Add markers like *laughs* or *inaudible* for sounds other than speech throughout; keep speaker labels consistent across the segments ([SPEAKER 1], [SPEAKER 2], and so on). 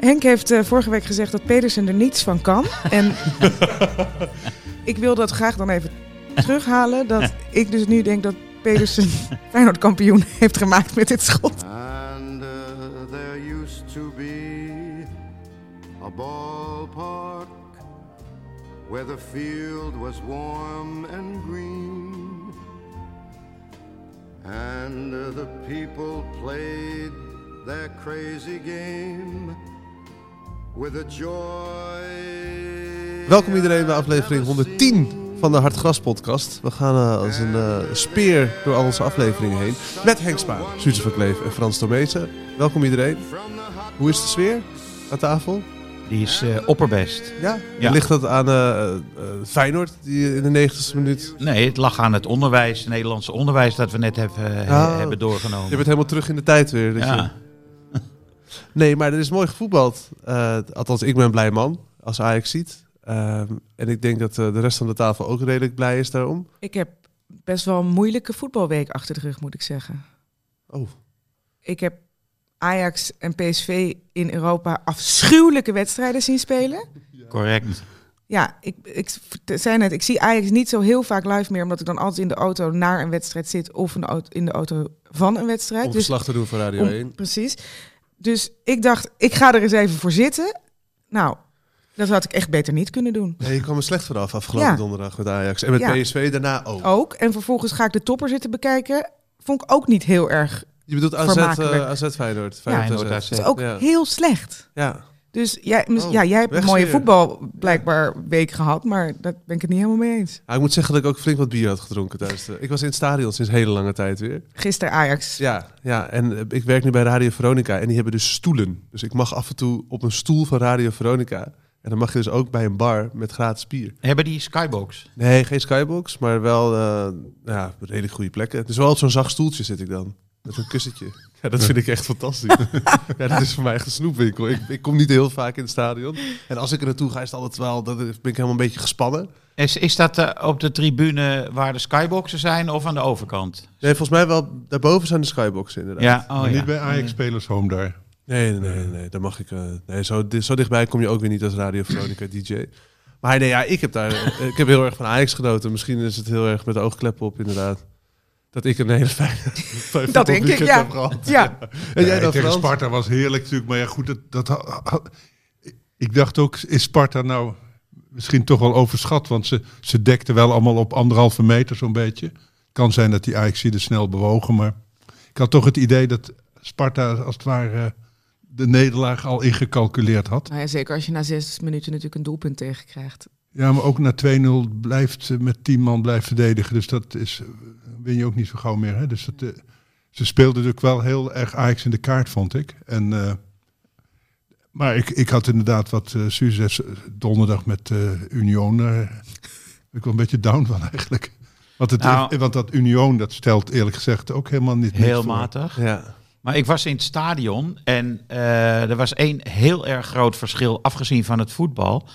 [SPEAKER 1] Henk heeft eh, vorige week gezegd dat Pedersen er niets van kan. En ik wil dat graag dan even terughalen. Dat ik dus nu denk dat Pedersen Feyenoord kampioen heeft gemaakt met dit schot.
[SPEAKER 2] And uh, there used to be a ballpark where the field was warm and green. And uh, the people played their crazy game with a joy.
[SPEAKER 3] Welkom iedereen bij aflevering 110 van de Hartgras podcast. We gaan eh, als een eh, speer door al onze afleveringen heen. Met Henk Spaan, Suze van Kleef en Frans Tomezen. Welkom iedereen. Hoe is de sfeer aan tafel?
[SPEAKER 4] Die is eh, opperbest.
[SPEAKER 3] Ja?
[SPEAKER 4] Ja.
[SPEAKER 3] Ligt dat aan eh, eh, Feyenoord die in de 90ste minuut...
[SPEAKER 4] Nee, het lag aan het onderwijs, het Nederlandse onderwijs dat we net hebben, eh,
[SPEAKER 3] Ah.
[SPEAKER 4] hebben doorgenomen.
[SPEAKER 3] Je bent helemaal terug in de tijd weer. dat je-
[SPEAKER 4] ja.
[SPEAKER 3] Nee, maar er is mooi gevoetbald. Eh, althans, ik ben een blij man als Ajax ziet. Ehm, en ik denk dat eh, de rest van de tafel ook redelijk blij is daarom.
[SPEAKER 1] Ik heb best wel een moeilijke voetbalweek achter de rug, moet ik zeggen.
[SPEAKER 3] Oh.
[SPEAKER 1] Ik heb Ajax en PSV in Europa afschuwelijke wedstrijden zien spelen.
[SPEAKER 4] correct.
[SPEAKER 1] Ja, ik, ik zei net, ik zie Ajax niet zo heel vaak live meer, omdat ik dan altijd in de auto naar een wedstrijd zit of een auto, in de auto van een wedstrijd.
[SPEAKER 3] Om
[SPEAKER 1] Dus
[SPEAKER 3] verslag te doen voor Radio
[SPEAKER 1] Om-
[SPEAKER 3] 1.
[SPEAKER 1] precies. Dus ik dacht, ik ga er eens even voor zitten. Nou, dat had ik echt beter niet kunnen doen.
[SPEAKER 3] Nee, je kwam er slecht vanaf afgelopen
[SPEAKER 1] Ja.
[SPEAKER 3] donderdag met Ajax. En met
[SPEAKER 1] Ja. Oh,
[SPEAKER 3] PSV daarna ook.
[SPEAKER 1] Ook. En vervolgens ga ik de topper zitten bekijken. Vond ik ook niet heel erg.
[SPEAKER 3] Je bedoelt AZ,
[SPEAKER 1] Vermakelijk.
[SPEAKER 3] eh, AZ Feyenoord.
[SPEAKER 4] Feyenoord
[SPEAKER 3] AZ.
[SPEAKER 1] Dus
[SPEAKER 4] AZ.
[SPEAKER 1] ook
[SPEAKER 3] Ja.
[SPEAKER 1] heel slecht.
[SPEAKER 3] Ja.
[SPEAKER 1] Dus jij, mis-
[SPEAKER 3] Oh,
[SPEAKER 1] ja, jij hebt een mooie
[SPEAKER 3] wegsfeer.
[SPEAKER 1] voetbal blijkbaar week gehad, maar daar ben ik het niet helemaal mee eens.
[SPEAKER 3] Ah, ik moet zeggen dat ik ook flink wat bier had gedronken tijdens de... Ik was in het stadion sinds hele lange tijd weer.
[SPEAKER 1] Gisteren Ajax.
[SPEAKER 3] Ja, ja. En eh, ik werk nu bij Radio Veronica en die hebben dus stoelen. Dus ik mag af en toe op een stoel van Radio Veronica. En dan mag je dus ook bij een bar met gratis bier.
[SPEAKER 4] Hebben die skybox?
[SPEAKER 3] Nee, geen skybox, maar wel eh ja, redelijk goede plekken. Dus wel op zo'n zacht stoeltje zit ik dan. Met zo'n kussentje. Ja, dat vind ik echt *laughs* fantastisch. ja, dat is voor mij echt een snoepwinkel. Ik, ik kom niet heel vaak in het stadion. En als ik er naartoe ga, is het altijd wel... Dat, ben ik helemaal een beetje gespannen.
[SPEAKER 4] Is, is dat eh, op de tribune waar de skyboxen zijn of aan de overkant?
[SPEAKER 3] Nee, volgens mij wel... Daarboven zijn de skyboxen inderdaad.
[SPEAKER 4] Ja, oh, ja.
[SPEAKER 5] Niet bij Ajax-spelers home daar.
[SPEAKER 3] Nee, nee, nee. nee daar mag ik... eh, nee, zo, di- zo dichtbij kom je ook weer niet als Radio Veronica *clears throat* DJ. Maar nee, ja, ik heb daar... ik heb heel erg van Ajax genoten. Misschien is het heel erg met de oogkleppen op inderdaad. Dat ik een hele fijne...
[SPEAKER 1] *laughs*
[SPEAKER 3] fijn
[SPEAKER 1] Dat denk ik,
[SPEAKER 3] voetbalweekend
[SPEAKER 1] ja.
[SPEAKER 3] heb gehad.
[SPEAKER 1] Ja,
[SPEAKER 3] En jij
[SPEAKER 5] Nee,
[SPEAKER 3] dan,
[SPEAKER 5] tegen
[SPEAKER 3] Frans?
[SPEAKER 5] Sparta was heerlijk natuurlijk. Maar ja, goed, dat, dat ha- ha- ik dacht ook, is Sparta nou misschien toch wel overschat? Want ze, ze dekten wel allemaal op anderhalve meter zo'n beetje. Kan zijn dat die ajax er snel bewogen, maar ik had toch het idee dat Sparta als het ware de nederlaag al ingecalculeerd had.
[SPEAKER 1] Nou ja, zeker als je na zes minuten natuurlijk een doelpunt tegenkrijgt.
[SPEAKER 5] Ja, maar ook na 2-0 blijft eh, met 10 man blijft verdedigen. Dus dat is, eh, win je ook niet zo gauw meer. Hè? Dus dat, eh, ze speelden natuurlijk wel heel erg Ajax in de kaart, vond ik. En, eh, maar ik, ik had inderdaad wat eh Suze zegt, donderdag met eh, Union. eh, ik was een beetje down van eigenlijk. Want, het,
[SPEAKER 4] Nou.
[SPEAKER 5] eh, want dat Union, dat stelt eerlijk gezegd ook helemaal niet niks
[SPEAKER 4] Heel
[SPEAKER 5] voor.
[SPEAKER 4] matig.
[SPEAKER 3] Ja.
[SPEAKER 4] Maar ik was in het stadion en eh, er was één heel erg groot verschil, afgezien van het voetbal,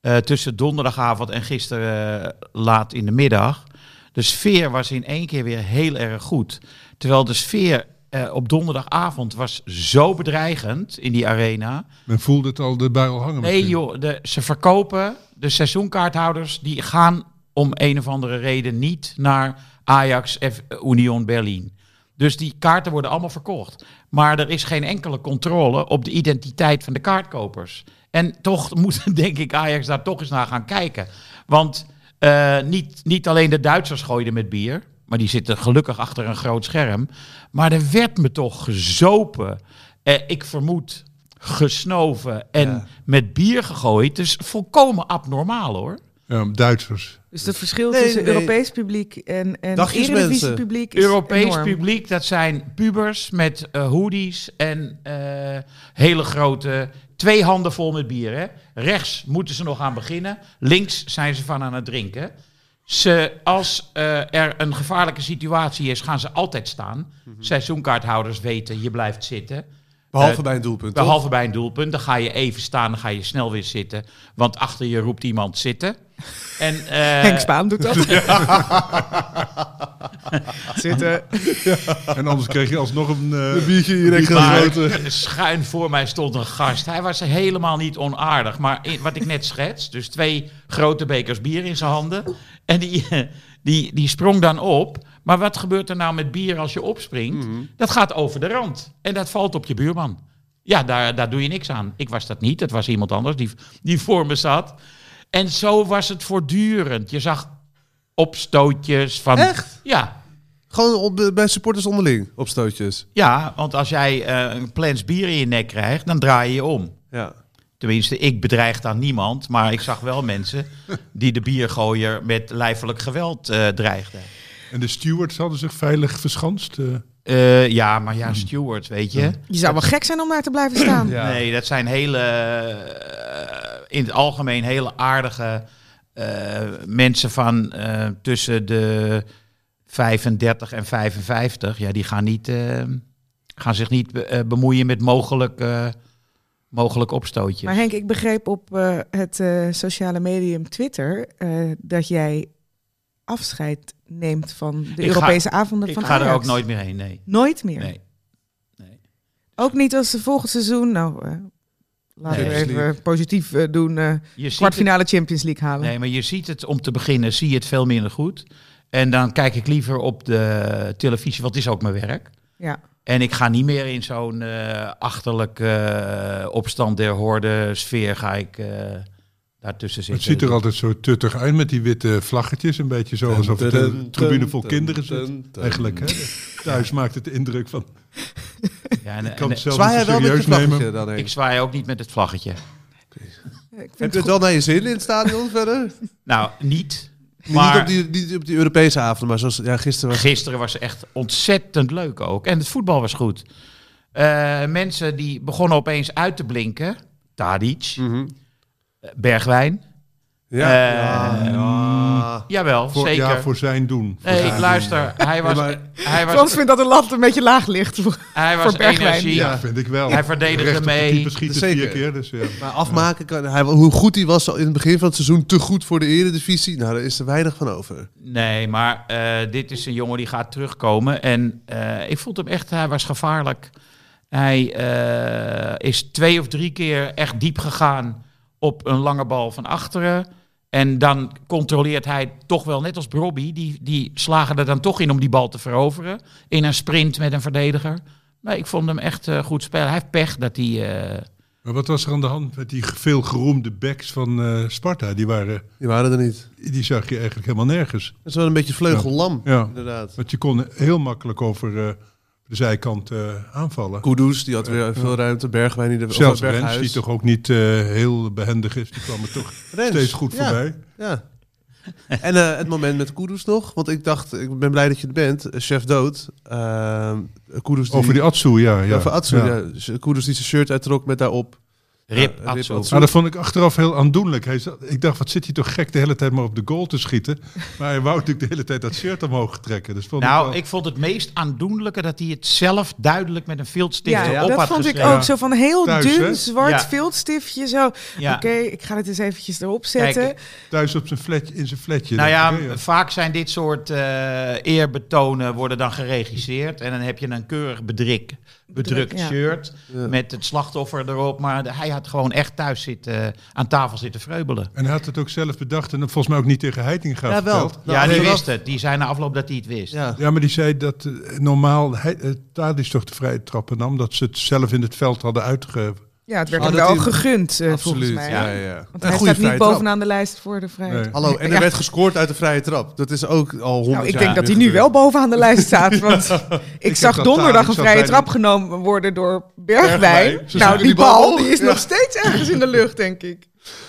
[SPEAKER 4] eh, tussen donderdagavond en gisteren eh, laat in de middag. De sfeer was in één keer weer heel erg goed. Terwijl de sfeer eh, op donderdagavond was zo bedreigend in die arena.
[SPEAKER 5] Men voelde het al de bui al hangen.
[SPEAKER 4] Nee
[SPEAKER 5] misschien.
[SPEAKER 4] joh, de, ze verkopen, de seizoenkaarthouders, die gaan om een of andere reden niet naar Ajax F Union Berlin. Dus die kaarten worden allemaal verkocht. Maar er is geen enkele controle op de identiteit van de kaartkopers. En toch *laughs* moet, denk ik, Ajax daar toch eens naar gaan kijken. Want eh, niet, niet alleen de Duitsers gooiden met bier. Maar die zitten gelukkig achter een groot scherm. Maar er werd me toch gezopen. Eh, ik vermoed gesnoven en
[SPEAKER 3] Ja.
[SPEAKER 4] met bier gegooid. Dus volkomen abnormaal hoor.
[SPEAKER 5] Ja, Duitsers.
[SPEAKER 1] Dus het verschil
[SPEAKER 3] Nee,
[SPEAKER 1] tussen
[SPEAKER 3] nee.
[SPEAKER 1] Europees publiek en, en
[SPEAKER 3] Dagjes mensen.
[SPEAKER 1] Eredivisie publiek is
[SPEAKER 4] Europees
[SPEAKER 1] enorm.
[SPEAKER 4] publiek, dat zijn pubers met eh, hoodies en eh, hele grote... Twee handen vol met bier. Hè? Rechts moeten ze nog aan beginnen. Links zijn ze van aan het drinken. Ze, als eh, er een gevaarlijke situatie is, gaan ze altijd staan.
[SPEAKER 1] Mhm.
[SPEAKER 4] Seizoenkaarthouders weten, je blijft zitten.
[SPEAKER 3] Behalve
[SPEAKER 4] Eh,
[SPEAKER 3] bij een doelpunt. toch?
[SPEAKER 4] Behalve bij een doelpunt, dan ga je even staan, dan ga je snel weer zitten. Want achter je roept iemand zitten. En, eh,
[SPEAKER 1] Henk Spaan
[SPEAKER 3] *laughs*
[SPEAKER 1] doet dat.
[SPEAKER 5] *laughs*
[SPEAKER 1] Zitten.
[SPEAKER 5] En anders kreeg je alsnog een... eh,
[SPEAKER 3] Een biertje hier
[SPEAKER 5] een
[SPEAKER 3] extra
[SPEAKER 5] biertje. eh.
[SPEAKER 4] maar
[SPEAKER 3] grote.
[SPEAKER 4] schuin voor mij stond een gast. Hij was helemaal niet onaardig. Maar in- wat ik net schets, dus twee grote bekers bier in zijn handen. En die, eh, die, die sprong dan op. Maar wat gebeurt er nou met bier als je opspringt? Dat gaat over de rand. En dat valt op je buurman. Ja, daar, daar doe je niks aan. Ik was dat niet. Dat was iemand anders die, die voor me zat. En zo was het voortdurend. Je zag opstootjes van...
[SPEAKER 3] Echt?
[SPEAKER 4] Ja,
[SPEAKER 3] Gewoon op, bij supporters onderling, op stootjes.
[SPEAKER 4] ja, want als jij eh, een plens bier in je nek krijgt, dan draai je je om.
[SPEAKER 3] Ja.
[SPEAKER 4] Tenminste, ik bedreig dan niemand, maar ik zag wel mensen die de biergooier met lijfelijk geweld eh, dreigden.
[SPEAKER 5] En de stewards hadden zich veilig verschanst. eh.
[SPEAKER 4] Eh, ja, maar ja, stewards, weet je.
[SPEAKER 1] Je zou wel gek zijn om daar te blijven staan.
[SPEAKER 3] Ja.
[SPEAKER 4] Nee, dat zijn hele, eh, in het algemeen hele aardige eh, mensen van eh, tussen de 35 en 55. Ja, die gaan, niet, eh, gaan zich niet be- eh, bemoeien met mogelijk, eh, mogelijk opstootjes.
[SPEAKER 1] Maar Henk, ik begreep op eh, het eh, sociale medium Twitter eh, dat jij afscheid neemt van de
[SPEAKER 4] ga-
[SPEAKER 1] Europese avonden
[SPEAKER 4] ik
[SPEAKER 1] van
[SPEAKER 4] ga
[SPEAKER 1] Ajax.
[SPEAKER 4] er ook nooit meer heen, nee.
[SPEAKER 1] Nooit meer?
[SPEAKER 4] nee.
[SPEAKER 1] Ook niet als ze volgend seizoen... Nou, eh, laten
[SPEAKER 4] Nee.
[SPEAKER 1] we even positief eh, doen. eh,
[SPEAKER 4] Je ziet het,
[SPEAKER 1] kwartfinale Champions League halen.
[SPEAKER 4] nee, maar je ziet het om te beginnen, zie je het veel minder goed. En dan kijk ik liever op de televisie, want het is ook mijn werk.
[SPEAKER 1] Ja.
[SPEAKER 4] En ik ga niet meer in zo'n eh achterlijk eh, opstand der hoorde sfeer ga ik eh, daartussen
[SPEAKER 5] het
[SPEAKER 4] zitten.
[SPEAKER 5] ziet er altijd zo tuttig uit met die witte vlaggetjes. Een beetje zo alsof het een tribune vol kinderen zit. Eigenlijk, hè? Thuis maakt het de indruk van...
[SPEAKER 4] Ja, en-
[SPEAKER 5] Ik kan
[SPEAKER 4] en-
[SPEAKER 5] het zelf
[SPEAKER 3] Zwaai
[SPEAKER 5] niet
[SPEAKER 3] jij wel
[SPEAKER 5] zo
[SPEAKER 3] met je
[SPEAKER 5] serieus
[SPEAKER 3] vlaggetje
[SPEAKER 5] nemen.
[SPEAKER 3] dan heen?
[SPEAKER 4] ik zwaai ook niet met het vlaggetje.
[SPEAKER 1] Ik vind
[SPEAKER 3] Heb
[SPEAKER 1] het
[SPEAKER 3] je het
[SPEAKER 1] goed.
[SPEAKER 3] wel naar je zin in het stadion
[SPEAKER 1] *laughs*
[SPEAKER 3] verder?
[SPEAKER 4] Nou, niet.
[SPEAKER 3] Niet,
[SPEAKER 4] Maar
[SPEAKER 3] op die, niet op die Europese avond, maar zoals ja, gisteren was...
[SPEAKER 4] Gisteren was echt ontzettend leuk ook. En het voetbal was goed. Eh, mensen die begonnen opeens uit te blinken. Tadic,
[SPEAKER 3] Mhm.
[SPEAKER 4] eh, Bergwijn.
[SPEAKER 3] Ja.
[SPEAKER 4] Eh,
[SPEAKER 3] ja.
[SPEAKER 4] Jawel,
[SPEAKER 5] Voor,
[SPEAKER 4] zeker.
[SPEAKER 5] ja, voor zijn doen. Voor
[SPEAKER 4] Nee,
[SPEAKER 5] zijn
[SPEAKER 4] ik
[SPEAKER 5] doen.
[SPEAKER 4] luister. Hij was,
[SPEAKER 3] maar-
[SPEAKER 4] hij
[SPEAKER 1] Frans
[SPEAKER 4] was,
[SPEAKER 1] vindt dat de lat een beetje laag ligt.
[SPEAKER 4] hij was
[SPEAKER 1] voor Bergwijn.
[SPEAKER 4] energie.
[SPEAKER 5] Ja, vind ik wel.
[SPEAKER 4] Hij verdedigde
[SPEAKER 5] Recht op de
[SPEAKER 4] mee.
[SPEAKER 5] keeper schiet het
[SPEAKER 3] Zeker.
[SPEAKER 5] vier keer, dus ja.
[SPEAKER 3] Maar afmaken kan hij... Hoe goed hij was in het begin van het seizoen, te goed voor de eredivisie. Nou, daar is er weinig van over.
[SPEAKER 4] Nee, maar eh, dit is een jongen die gaat terugkomen. En eh, ik vond hem echt, hij was gevaarlijk. Hij eh, is twee of drie keer echt diep gegaan op een lange bal van achteren. En dan controleert hij toch wel, net als Robbie, die, die slagen er dan toch in om die bal te veroveren. In een sprint met een verdediger. Maar ik vond hem echt eh, goed spelen. Hij heeft pech dat hij... eh,
[SPEAKER 5] Maar wat was er aan de hand met die veel geroemde backs van eh, Sparta? Die, waren,
[SPEAKER 3] Die waren er niet.
[SPEAKER 5] die zag je eigenlijk helemaal nergens.
[SPEAKER 3] Het is wel een beetje vleugellam,
[SPEAKER 5] Ja.
[SPEAKER 3] inderdaad.
[SPEAKER 5] Want je kon heel makkelijk over eh, de zijkant eh, aanvallen.
[SPEAKER 3] Kudus, die had weer veel ruimte. Bergwijn, die er
[SPEAKER 5] Zelfs
[SPEAKER 3] of Berghuis.
[SPEAKER 5] Rens, die toch ook niet eh, heel behendig is, die kwam er toch
[SPEAKER 3] Rens,
[SPEAKER 5] steeds goed
[SPEAKER 3] ja.
[SPEAKER 5] voorbij.
[SPEAKER 3] Ja. En eh, het moment met Kudus nog. Want ik dacht, ik ben blij dat je er bent. Eh, Chef dood. Eh, Kudus die...
[SPEAKER 5] Over die Atsu, ja. ja.
[SPEAKER 3] Over Atsu,
[SPEAKER 5] Ja.
[SPEAKER 3] ja. Dus, eh, Kudus die zijn shirt uittrok met daarop.
[SPEAKER 4] Rip,
[SPEAKER 3] Ja,
[SPEAKER 4] Atsu.
[SPEAKER 3] Rip Atsu.
[SPEAKER 5] Nou, dat vond ik achteraf heel aandoenlijk. Hij zat- ik dacht, wat zit hij toch gek de hele tijd maar op de goal te schieten. Maar hij wou natuurlijk de hele tijd dat shirt omhoog trekken. Dus vond
[SPEAKER 4] Nou,
[SPEAKER 5] wel-
[SPEAKER 4] ik vond het meest aandoenlijke dat hij het zelf duidelijk met een
[SPEAKER 1] *laughs* Ja,
[SPEAKER 4] fieldsticker op
[SPEAKER 1] dat
[SPEAKER 4] had
[SPEAKER 1] vond ik
[SPEAKER 4] geschreven.
[SPEAKER 1] ook. Zo van heel
[SPEAKER 5] Thuis,
[SPEAKER 1] dun,
[SPEAKER 5] hè?
[SPEAKER 1] zwart
[SPEAKER 4] Ja.
[SPEAKER 1] viltstiftje. Zo,
[SPEAKER 4] Ja.
[SPEAKER 1] oké, ik ga dit eens eventjes erop zetten.
[SPEAKER 4] Kijk,
[SPEAKER 5] thuis op zijn flat, in zijn flatje.
[SPEAKER 4] Nou
[SPEAKER 5] dacht
[SPEAKER 4] ja,
[SPEAKER 5] ik, hè,
[SPEAKER 4] vaak zijn dit soort eh, eerbetonen worden dan geregisseerd. En dan heb je een keurig bedrik, bedrukt
[SPEAKER 1] ja.
[SPEAKER 4] shirt
[SPEAKER 3] Ja.
[SPEAKER 4] met het slachtoffer erop. Maar de- hij had gewoon echt thuis zitten, eh, aan tafel zitten vreubelen.
[SPEAKER 5] En hij had het ook zelf bedacht en dat volgens mij ook niet tegen Heitinga
[SPEAKER 3] Jawel.
[SPEAKER 5] verteld.
[SPEAKER 3] Nou,
[SPEAKER 4] ja, die
[SPEAKER 3] achteraf-
[SPEAKER 4] wist het. Die zei na afloop dat hij het wist.
[SPEAKER 3] Ja.
[SPEAKER 5] Ja, maar die zei dat eh, normaal hij, eh, Tadic toch de vrije trappen nam. Dat ze het zelf in het veld hadden uitge...
[SPEAKER 1] Ja, het werd
[SPEAKER 3] Ah,
[SPEAKER 1] hem
[SPEAKER 3] dat
[SPEAKER 1] wel
[SPEAKER 3] hij-
[SPEAKER 1] gegund, eh, volgens
[SPEAKER 3] Absoluut,
[SPEAKER 1] mij.
[SPEAKER 3] ja, ja. ja.
[SPEAKER 1] Want
[SPEAKER 3] Een
[SPEAKER 1] hij
[SPEAKER 3] goede
[SPEAKER 1] staat niet
[SPEAKER 3] vrije trap.
[SPEAKER 1] bovenaan de lijst voor de vrijheid.
[SPEAKER 5] Nee.
[SPEAKER 3] Hallo, en er
[SPEAKER 1] Ja.
[SPEAKER 3] werd gescoord uit de vrije trap. Dat is ook al honderd
[SPEAKER 1] Nou, ik
[SPEAKER 3] jaar
[SPEAKER 1] denk dat hij
[SPEAKER 3] meer
[SPEAKER 1] nu
[SPEAKER 3] gebeurd.
[SPEAKER 1] wel bovenaan de lijst
[SPEAKER 3] *laughs*
[SPEAKER 1] staat. Want ik,
[SPEAKER 5] heb
[SPEAKER 1] zag
[SPEAKER 5] dat
[SPEAKER 1] donderdag
[SPEAKER 5] daar,
[SPEAKER 1] een
[SPEAKER 5] ik zag
[SPEAKER 1] vrije
[SPEAKER 5] bij de-
[SPEAKER 1] trap genomen worden door Bergwijn.
[SPEAKER 3] Bergwijn. Ze
[SPEAKER 1] Nou,
[SPEAKER 3] zoeken
[SPEAKER 1] die
[SPEAKER 3] die bal
[SPEAKER 1] bal
[SPEAKER 3] op.
[SPEAKER 1] die is
[SPEAKER 3] Ja.
[SPEAKER 1] nog steeds ergens in de lucht, denk ik.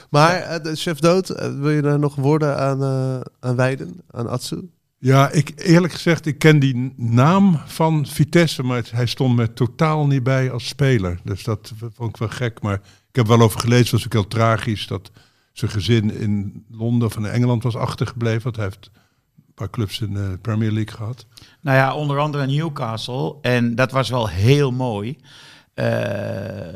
[SPEAKER 3] Maar eh, de chef dood, eh, wil je daar nog woorden aan, eh, aan wijden? Aan Atsu?
[SPEAKER 5] Ja, ik, eerlijk gezegd, ik ken die n- naam van Vitesse, maar het- hij stond me totaal niet bij als speler. Dus dat v- vond ik wel gek. Maar ik heb wel over gelezen, was ook heel tragisch, dat zijn gezin in Londen of in Engeland was achtergebleven. Want hij heeft een paar clubs in de Premier League gehad.
[SPEAKER 4] Nou ja, onder andere Newcastle. En dat was wel heel mooi. Eh,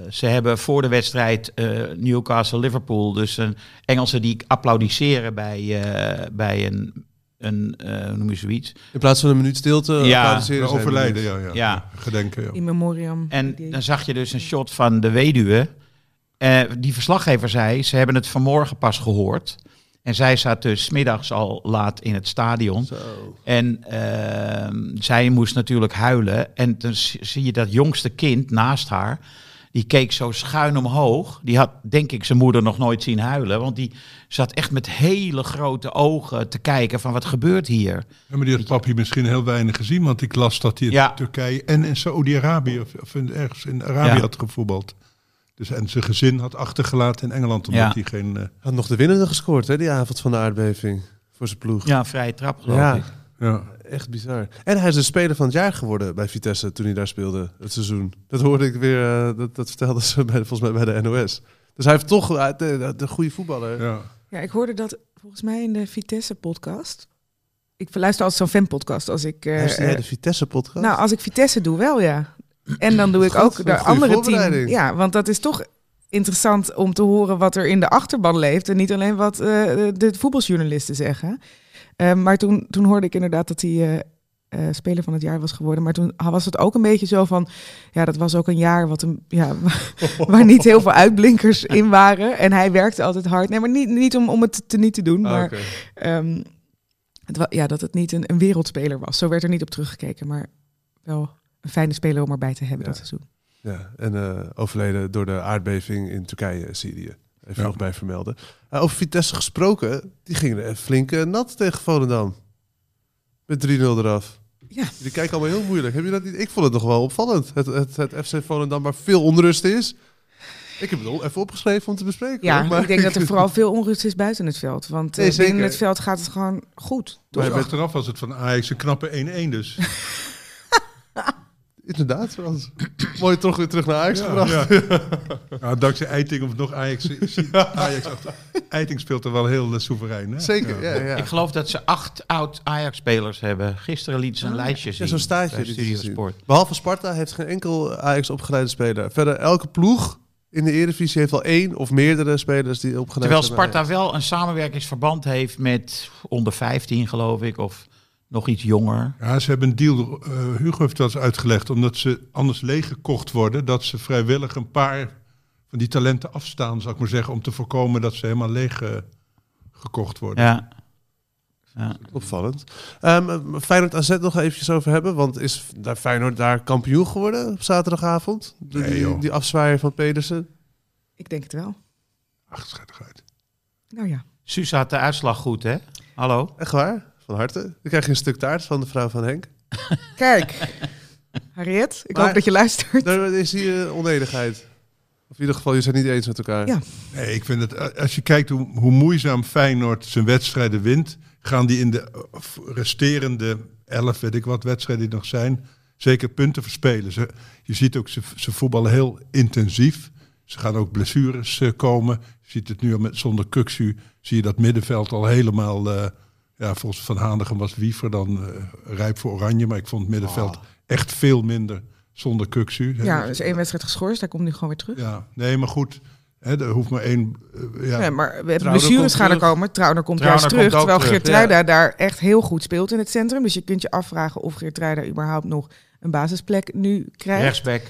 [SPEAKER 4] ze hebben voor de wedstrijd eh, Newcastle-Liverpool, dus een Engelsen die applaudisseren bij, eh, bij een, een eh, hoe noem je zoiets?
[SPEAKER 3] In plaats van een minuut stilte. eh,
[SPEAKER 4] Ja,
[SPEAKER 3] applaudisseren
[SPEAKER 5] De
[SPEAKER 3] zij
[SPEAKER 5] overlijden,
[SPEAKER 3] minuut.
[SPEAKER 5] ja, ja.
[SPEAKER 4] Ja.
[SPEAKER 5] Gedenken, ja.
[SPEAKER 1] In memoriam.
[SPEAKER 4] En
[SPEAKER 1] Die-
[SPEAKER 4] dan zag je dus een shot van de weduwe. Eh, die verslaggever zei, ze hebben het vanmorgen pas gehoord. En zij zat dus 's middags al laat in het stadion.
[SPEAKER 3] Zo.
[SPEAKER 4] En ehm, zij moest natuurlijk huilen. En dan z- zie je dat jongste kind naast haar. Die keek zo schuin omhoog. Die had, denk ik, zijn moeder nog nooit zien huilen. Want die zat echt met hele grote ogen te kijken van wat gebeurt hier.
[SPEAKER 5] Ja, maar die had papi misschien heel weinig gezien, want ik las dat hij in
[SPEAKER 4] Ja.
[SPEAKER 5] Turkije en in Saoedi-Arabië of, of in- ergens in Arabië
[SPEAKER 4] Ja.
[SPEAKER 5] had gevoetbald. Dus, en zijn gezin had achtergelaten in Engeland, omdat
[SPEAKER 4] Ja.
[SPEAKER 5] hij geen... eh,
[SPEAKER 3] Had nog de winnende gescoord, hè, die avond van de aardbeving. Voor zijn ploeg.
[SPEAKER 4] Ja, vrije trap geloof
[SPEAKER 3] Ja,
[SPEAKER 4] ik.
[SPEAKER 5] ja.
[SPEAKER 3] echt bizar. En hij is de speler van het jaar geworden bij Vitesse toen hij daar speelde, het seizoen. Dat hoorde ik weer, eh, dat, dat vertelden ze *laughs* bij, volgens mij bij de NOS. Dus hij heeft toch eh, de, de, de goede voetballer.
[SPEAKER 5] ja.
[SPEAKER 1] Ja, ik hoorde dat volgens mij in de Vitesse-podcast. Ik luister altijd zo'n fanpodcast als ik... eh,
[SPEAKER 3] Luister jij
[SPEAKER 1] eh,
[SPEAKER 3] de Vitesse-podcast?
[SPEAKER 1] nou, als ik Vitesse doe, wel ja. En dan doe ik
[SPEAKER 3] Goed,
[SPEAKER 1] ook
[SPEAKER 3] een
[SPEAKER 1] de
[SPEAKER 3] goede
[SPEAKER 1] andere team.
[SPEAKER 3] voorbereiding.
[SPEAKER 1] Ja, want dat is toch interessant om te horen wat er in de achterban leeft. En niet alleen wat eh, de voetbaljournalisten zeggen. Eh, maar toen, toen hoorde ik inderdaad dat hij eh, eh, speler van het jaar was geworden. Maar toen was het ook een beetje zo van... Ja, dat was ook een jaar wat een, ja, *laughs* waar niet heel veel uitblinkers in waren. En hij werkte altijd hard. Nee, maar niet, niet om, om het te niet te doen.
[SPEAKER 3] Ah,
[SPEAKER 1] maar
[SPEAKER 3] oké.
[SPEAKER 1] ehm, het wa- ja, dat het niet een, een wereldspeler was. Zo werd er niet op teruggekeken, maar wel een fijne speler om erbij te hebben
[SPEAKER 3] Ja.
[SPEAKER 1] dat seizoen.
[SPEAKER 3] Ja, en eh, overleden door de aardbeving in Turkije en Syrië. Even
[SPEAKER 5] Ja.
[SPEAKER 3] nog bij vermelden. Eh, over Vitesse gesproken, die gingen er flink eh, nat tegen Volendam. Met 3-0 eraf.
[SPEAKER 1] Ja.
[SPEAKER 3] Jullie kijken allemaal heel moeilijk. Heb je dat niet? Ik vond het nog wel opvallend. Het, het, het FC Volendam waar veel onrust is. Ik heb het al even opgeschreven om te bespreken.
[SPEAKER 1] Ja,
[SPEAKER 3] hoor, maar
[SPEAKER 1] ik
[SPEAKER 3] *laughs*
[SPEAKER 1] denk dat er vooral veel onrust is buiten het veld. Want eh,
[SPEAKER 3] Nee, zeker.
[SPEAKER 1] binnen het veld gaat het gewoon goed.
[SPEAKER 5] Maar
[SPEAKER 3] Maar met-
[SPEAKER 5] achteraf was het van Ajax een knappe 1-1 dus.
[SPEAKER 3] Inderdaad, Frans. Mooi toch weer terug naar Ajax gebracht.
[SPEAKER 5] Ja. Ja, dankzij Eiting of nog Ajax. eh,
[SPEAKER 3] *laughs*
[SPEAKER 5] Ajax achter. Eiting speelt er wel heel eh, soeverein. Hè?
[SPEAKER 3] Zeker, ja, ja.
[SPEAKER 4] Ik geloof dat ze acht oud Ajax-spelers hebben. Gisteren liet ze een lijstje zien.
[SPEAKER 3] Ah, Ja, zo'n staartje
[SPEAKER 4] bij
[SPEAKER 3] liet ze
[SPEAKER 4] Studio
[SPEAKER 3] zien.
[SPEAKER 4] Sport.
[SPEAKER 3] Behalve Sparta heeft geen enkel Ajax opgeleide speler. Verder, elke ploeg in de Eredivisie heeft al één of meerdere spelers die opgeleid
[SPEAKER 4] Terwijl
[SPEAKER 3] zijn. bij
[SPEAKER 4] Sparta wel een samenwerkingsverband heeft met onder 15 geloof ik. Of nog iets jonger.
[SPEAKER 5] Ja, ze hebben een deal, eh, Hugo heeft dat eens uitgelegd, omdat ze anders leeggekocht worden, dat ze vrijwillig een paar van die talenten afstaan, zou ik maar zeggen, om te voorkomen dat ze helemaal leeg eh, gekocht worden.
[SPEAKER 4] Ja.
[SPEAKER 3] Eh, Opvallend. Ehm Feyenoord AZ nog eventjes over hebben. Want is daar Feyenoord daar kampioen geworden op zaterdagavond? Door
[SPEAKER 5] Nee,
[SPEAKER 3] die,
[SPEAKER 5] joh.
[SPEAKER 3] die afzwaaier van Pedersen.
[SPEAKER 1] Ik denk het wel.
[SPEAKER 5] Ach, schattigheid.
[SPEAKER 1] Nou ja.
[SPEAKER 4] Suus had de uitslag goed, hè? Hallo?
[SPEAKER 3] Echt waar? Van harte. Dan krijg je een stuk taart van de vrouw van Henk.
[SPEAKER 1] Kijk, *laughs* Harriet, ik
[SPEAKER 3] Maar-
[SPEAKER 1] hoop dat je
[SPEAKER 3] *laughs*
[SPEAKER 1] luistert.
[SPEAKER 3] Daar is hier eh, onenigheid. Of in ieder geval, je zijn niet eens met elkaar.
[SPEAKER 1] Ja.
[SPEAKER 5] Nee, ik vind het, a- als je kijkt hoe, hoe moeizaam Feyenoord zijn wedstrijden wint, gaan die in de eh, f- resterende elf, weet ik wat, wedstrijden die nog zijn, zeker punten verspelen. Ze, je ziet ook, ze, ze voetballen heel intensief. Ze gaan ook blessures eh, komen. Je ziet het nu al met, zonder Kuxu, zie je dat middenveld al helemaal, eh, ja, volgens Van Hanegem was Wiever dan eh, rijp voor Oranje, maar ik vond het middenveld echt veel minder zonder Kuxu. Hè,
[SPEAKER 1] Ah. Ja,
[SPEAKER 5] dat-
[SPEAKER 1] dus één wedstrijd geschorst, hij komt nu gewoon weer terug.
[SPEAKER 5] ja, nee, maar goed. Hè, er hoeft maar één. eh, ja.
[SPEAKER 1] Nee, maar we hebben
[SPEAKER 3] Trauner
[SPEAKER 1] blessures
[SPEAKER 3] komt
[SPEAKER 1] gaan er
[SPEAKER 3] terug.
[SPEAKER 1] komen. Trauner komt
[SPEAKER 4] Trauner
[SPEAKER 1] juist terug.
[SPEAKER 4] komt ook
[SPEAKER 1] terwijl
[SPEAKER 4] terug,
[SPEAKER 1] Geertruida daar echt heel goed speelt in het centrum. Dus je kunt je afvragen of Geertruida überhaupt nog een basisplek nu krijgt.
[SPEAKER 4] Rechtsback.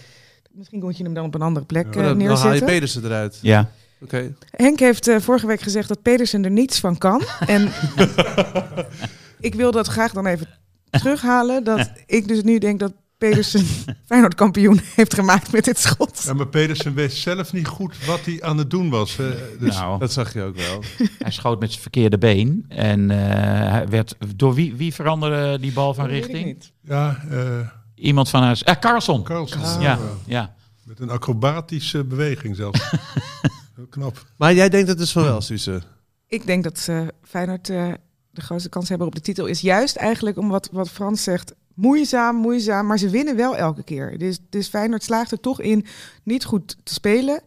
[SPEAKER 1] Misschien moet je hem dan op een andere plek
[SPEAKER 3] Maar
[SPEAKER 1] eh,
[SPEAKER 3] dan, dan haal je
[SPEAKER 1] neerzetten.
[SPEAKER 3] Pedersen eruit.
[SPEAKER 4] Ja.
[SPEAKER 3] Oké.
[SPEAKER 1] Henk heeft eh, vorige week gezegd dat Pedersen er niets van
[SPEAKER 3] *laughs*
[SPEAKER 1] kan. En ik wil dat graag dan even terughalen. Dat ik dus nu denk dat
[SPEAKER 3] *laughs*
[SPEAKER 1] Pedersen Feyenoord kampioen heeft gemaakt met dit schot.
[SPEAKER 5] Ja, maar Pedersen weet zelf niet goed wat hij aan het doen was. eh, dus
[SPEAKER 4] Nou,
[SPEAKER 3] Dat zag je ook wel.
[SPEAKER 4] hij schoot met zijn verkeerde been. En eh, hij werd, door wie, wie veranderde die bal van
[SPEAKER 1] Dat weet ik
[SPEAKER 4] richting?
[SPEAKER 1] niet.
[SPEAKER 5] ja, eh
[SPEAKER 4] Iemand van huis. Eh, Carlson.
[SPEAKER 5] Carlsen.
[SPEAKER 3] Ah.
[SPEAKER 5] eh,
[SPEAKER 4] Ja, ja.
[SPEAKER 5] Met een acrobatische
[SPEAKER 4] *laughs*
[SPEAKER 5] beweging zelfs. Heel knap.
[SPEAKER 3] Maar jij denkt het dus van wel, Suze.
[SPEAKER 1] Ik denk dat eh, Feyenoord eh, de grootste kans hebben op de titel is juist eigenlijk om wat, wat Frans zegt. Moeizaam, moeizaam, maar ze winnen wel elke keer. Dus, dus Feyenoord slaagt er toch in niet goed te spelen.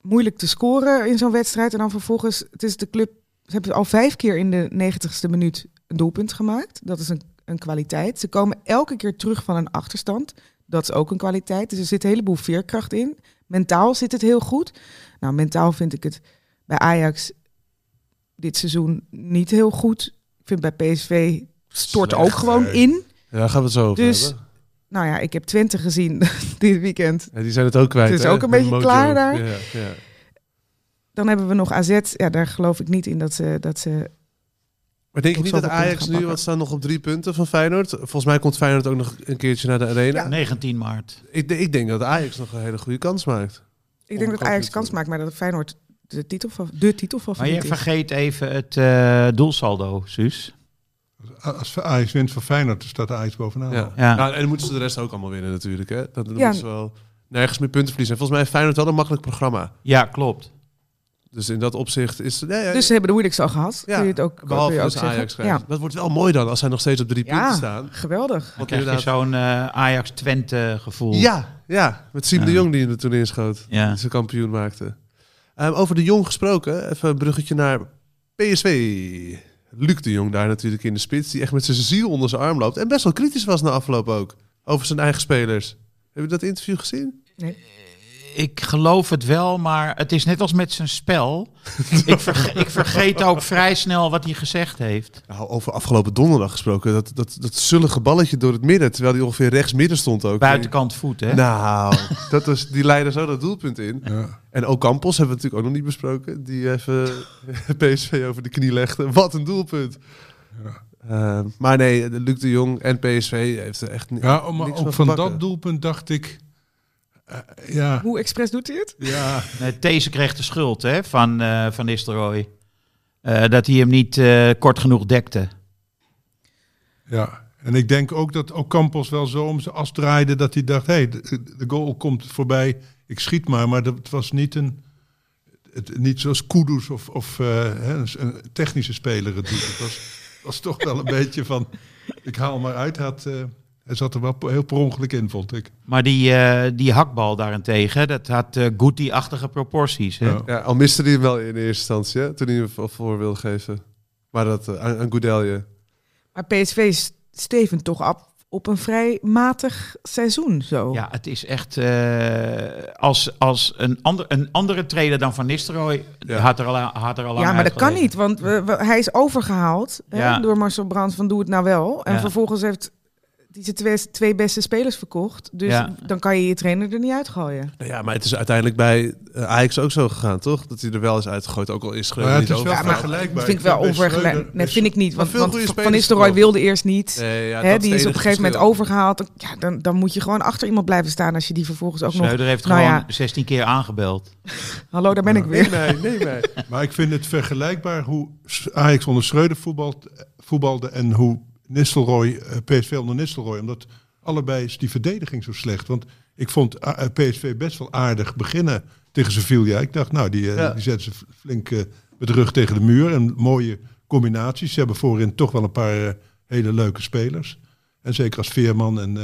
[SPEAKER 1] Moeilijk te scoren in zo'n wedstrijd. En dan vervolgens, het is de club, ze hebben al vijf keer in de negentigste minuut een doelpunt gemaakt. Dat is een, een kwaliteit. Ze komen elke keer terug van een achterstand. Dat is ook een kwaliteit. Dus er zit een heleboel veerkracht in. Mentaal zit het heel goed. Nou, mentaal vind ik het bij Ajax dit seizoen niet heel goed. Ik vind bij PSV stort
[SPEAKER 5] Slecht,
[SPEAKER 1] ook gewoon
[SPEAKER 5] eh.
[SPEAKER 1] in.
[SPEAKER 3] Ja, daar gaan we het zo over
[SPEAKER 1] Dus-
[SPEAKER 3] hebben.
[SPEAKER 1] Nou ja, ik heb Twente gezien *laughs* dit weekend.
[SPEAKER 3] Ja, die zijn het ook kwijt.
[SPEAKER 1] Het is
[SPEAKER 3] hè?
[SPEAKER 1] ook een
[SPEAKER 3] De
[SPEAKER 1] beetje
[SPEAKER 3] mojo.
[SPEAKER 1] klaar daar.
[SPEAKER 3] Ja, ja.
[SPEAKER 1] Dan hebben we nog AZ. Ja, daar geloof ik niet in dat ze... Dat ze
[SPEAKER 3] Maar denk
[SPEAKER 1] Tot
[SPEAKER 3] je niet
[SPEAKER 1] zoveel
[SPEAKER 3] dat
[SPEAKER 1] punten
[SPEAKER 3] Ajax
[SPEAKER 1] gaan
[SPEAKER 3] nu,
[SPEAKER 1] pakken.
[SPEAKER 3] wat staan nog op drie punten van Feyenoord? Volgens mij komt Feyenoord ook nog een keertje naar de arena.
[SPEAKER 4] 19 maart.
[SPEAKER 3] Ik, de- ik denk dat Ajax nog een hele goede kans maakt.
[SPEAKER 1] ik denk dat Ajax kans maakt, maar dat Feyenoord de titel van de titel van
[SPEAKER 4] Maar je vergeet even het eh, doelsaldo, Suus.
[SPEAKER 5] Als Ajax wint van Feyenoord, dan staat Ajax bovenaan.
[SPEAKER 3] Ja.
[SPEAKER 4] Ja.
[SPEAKER 3] Nou, en dan moeten ze de rest ook allemaal winnen natuurlijk. Hè? Dan
[SPEAKER 1] Oh. Ja.
[SPEAKER 3] moeten ze wel nergens meer punten verliezen. En volgens mij heeft Feyenoord wel een makkelijk programma.
[SPEAKER 4] Ja, klopt.
[SPEAKER 3] Dus in dat opzicht is... Nee, ja,
[SPEAKER 1] Dus ze hebben de moeilijkste al gehad.
[SPEAKER 3] ja,
[SPEAKER 1] kun je het ook, kun
[SPEAKER 3] behalve
[SPEAKER 1] je ook
[SPEAKER 3] dus
[SPEAKER 1] zeggen.
[SPEAKER 3] Ajax. krijgt.
[SPEAKER 1] Ja,
[SPEAKER 3] Dat wordt wel mooi dan, als zij nog steeds op drie
[SPEAKER 1] Ja.
[SPEAKER 3] punten staan.
[SPEAKER 1] geweldig.
[SPEAKER 4] Dan
[SPEAKER 3] Want
[SPEAKER 4] krijg je
[SPEAKER 3] inderdaad-
[SPEAKER 4] zo'n eh, Ajax-Twente gevoel.
[SPEAKER 3] Ja, ja, met Siem
[SPEAKER 4] Ja.
[SPEAKER 3] de Jong die hem er toen inschoot.
[SPEAKER 4] Ja.
[SPEAKER 3] Die ze kampioen maakte. Ehm, over de Jong gesproken, even een bruggetje naar PSV. Luc de Jong daar natuurlijk in de spits, die echt met zijn ziel onder zijn arm loopt. En best wel kritisch was na afloop ook, over zijn eigen spelers. Heb je dat interview gezien?
[SPEAKER 4] Ik geloof het wel, maar het is net als met zijn
[SPEAKER 3] *laughs*
[SPEAKER 4] spel. ik, verge- ik vergeet ook vrij snel wat hij gezegd heeft.
[SPEAKER 3] Nou, over afgelopen donderdag gesproken, dat, dat, dat zullige balletje door het midden, terwijl hij ongeveer rechts midden stond ook.
[SPEAKER 4] Buitenkant voet, hè?
[SPEAKER 3] Nou, dat was, die leidde zo dat doelpunt in.
[SPEAKER 5] Ja.
[SPEAKER 3] En Ocampos hebben we natuurlijk ook nog niet besproken. Die even *laughs* PSV over de knie legde. Wat een doelpunt. Eh, maar nee, de Luc de Jong en PSV heeft er echt ni-
[SPEAKER 5] Ja, maar
[SPEAKER 3] niks
[SPEAKER 5] ook
[SPEAKER 3] van
[SPEAKER 5] van
[SPEAKER 3] te
[SPEAKER 5] dat
[SPEAKER 3] pakken.
[SPEAKER 5] doelpunt dacht ik... eh, ja,
[SPEAKER 1] Hoe expres doet hij het?
[SPEAKER 3] *laughs*
[SPEAKER 5] ja,
[SPEAKER 4] Nee, Eh, These kreeg de schuld hè, van, eh van Nistelrooy. Eh, dat hij hem niet eh, kort genoeg dekte.
[SPEAKER 5] ja. En ik denk ook dat Ocampos wel zo om zijn as draaide dat hij dacht... hé, hey, de, de goal komt voorbij, ik schiet maar. Maar dat, het was niet een... Het, niet zoals Kudus of, of eh, hè, een, een technische speler het doet. Het was, was toch wel een *laughs* beetje van... ik haal maar uit. Hij Had, eh, hij zat er wel heel per ongeluk in, vond ik.
[SPEAKER 4] Maar die, eh, die hakbal daarentegen, dat had eh Guti-achtige proporties. Hè?
[SPEAKER 5] Ja.
[SPEAKER 3] Ja, al miste hij hem wel in eerste instantie, hè, toen hij hem voor- voor wilde geven. Maar dat eh, aan, aan Goudelje.
[SPEAKER 1] Maar PSV s- stevend toch op, op een vrij matig seizoen zo.
[SPEAKER 4] Ja, het is echt. eh, als als een, ander, een andere trainer dan Van Nistelrooy
[SPEAKER 3] Ja.
[SPEAKER 4] had er al, aan- had er al lang
[SPEAKER 1] Ja, maar dat kan
[SPEAKER 4] uitgelegen.
[SPEAKER 1] niet, want we- we- hij is overgehaald hè,
[SPEAKER 4] Ja.
[SPEAKER 1] door Marcel Brands van doe het nou wel. En
[SPEAKER 4] Ja.
[SPEAKER 1] vervolgens heeft hij zijn twee, twee beste spelers verkocht. Dus
[SPEAKER 4] Ja.
[SPEAKER 1] dan kan je je trainer er niet uitgooien.
[SPEAKER 3] Nou ja, maar het is uiteindelijk bij eh, Ajax ook zo gegaan, toch? Dat hij er wel is uitgegooid, ook al is Schreuder
[SPEAKER 5] Maar het
[SPEAKER 3] niet
[SPEAKER 5] is
[SPEAKER 3] over.
[SPEAKER 5] wel
[SPEAKER 1] Ja, maar
[SPEAKER 5] vergelijkbaar.
[SPEAKER 1] Dat vind ik wel
[SPEAKER 5] bij
[SPEAKER 1] onvergelijkbaar.
[SPEAKER 5] Schreuder
[SPEAKER 1] Nee,
[SPEAKER 5] is-
[SPEAKER 1] vind ik niet.
[SPEAKER 3] Maar
[SPEAKER 1] Want,
[SPEAKER 3] veel
[SPEAKER 1] want
[SPEAKER 3] goede
[SPEAKER 1] Van
[SPEAKER 3] spelers
[SPEAKER 1] Nistelrooy
[SPEAKER 3] verkocht.
[SPEAKER 1] wilde eerst niet.
[SPEAKER 3] Nee, ja,
[SPEAKER 1] Hè,
[SPEAKER 3] dat is
[SPEAKER 1] die is op een
[SPEAKER 3] het enige
[SPEAKER 1] gegeven moment
[SPEAKER 3] verschil.
[SPEAKER 1] overgehaald. Ja, dan, dan moet je gewoon achter iemand blijven staan als je die vervolgens ook nog...
[SPEAKER 4] Schreuder heeft
[SPEAKER 1] Nou
[SPEAKER 4] gewoon
[SPEAKER 1] ja.
[SPEAKER 4] 16 keer aangebeld.
[SPEAKER 1] Hallo, daar ben ik weer.
[SPEAKER 3] Nee, nee, nee.
[SPEAKER 5] Maar ik vind het vergelijkbaar hoe Ajax onder Schreuder voetbalt, eh, voetbalde en hoe Nistelrooy, eh, PSV onder Nistelrooy. Omdat allebei is die verdediging zo slecht. Want ik vond A- eh, PSV best wel aardig beginnen tegen Sevilla. Ik dacht, nou, die, eh,
[SPEAKER 3] Ja.
[SPEAKER 5] die zetten ze flink eh, met de rug tegen de muur. En mooie combinaties. Ze hebben voorin toch wel een paar eh, hele leuke spelers. En zeker als Veerman en... eh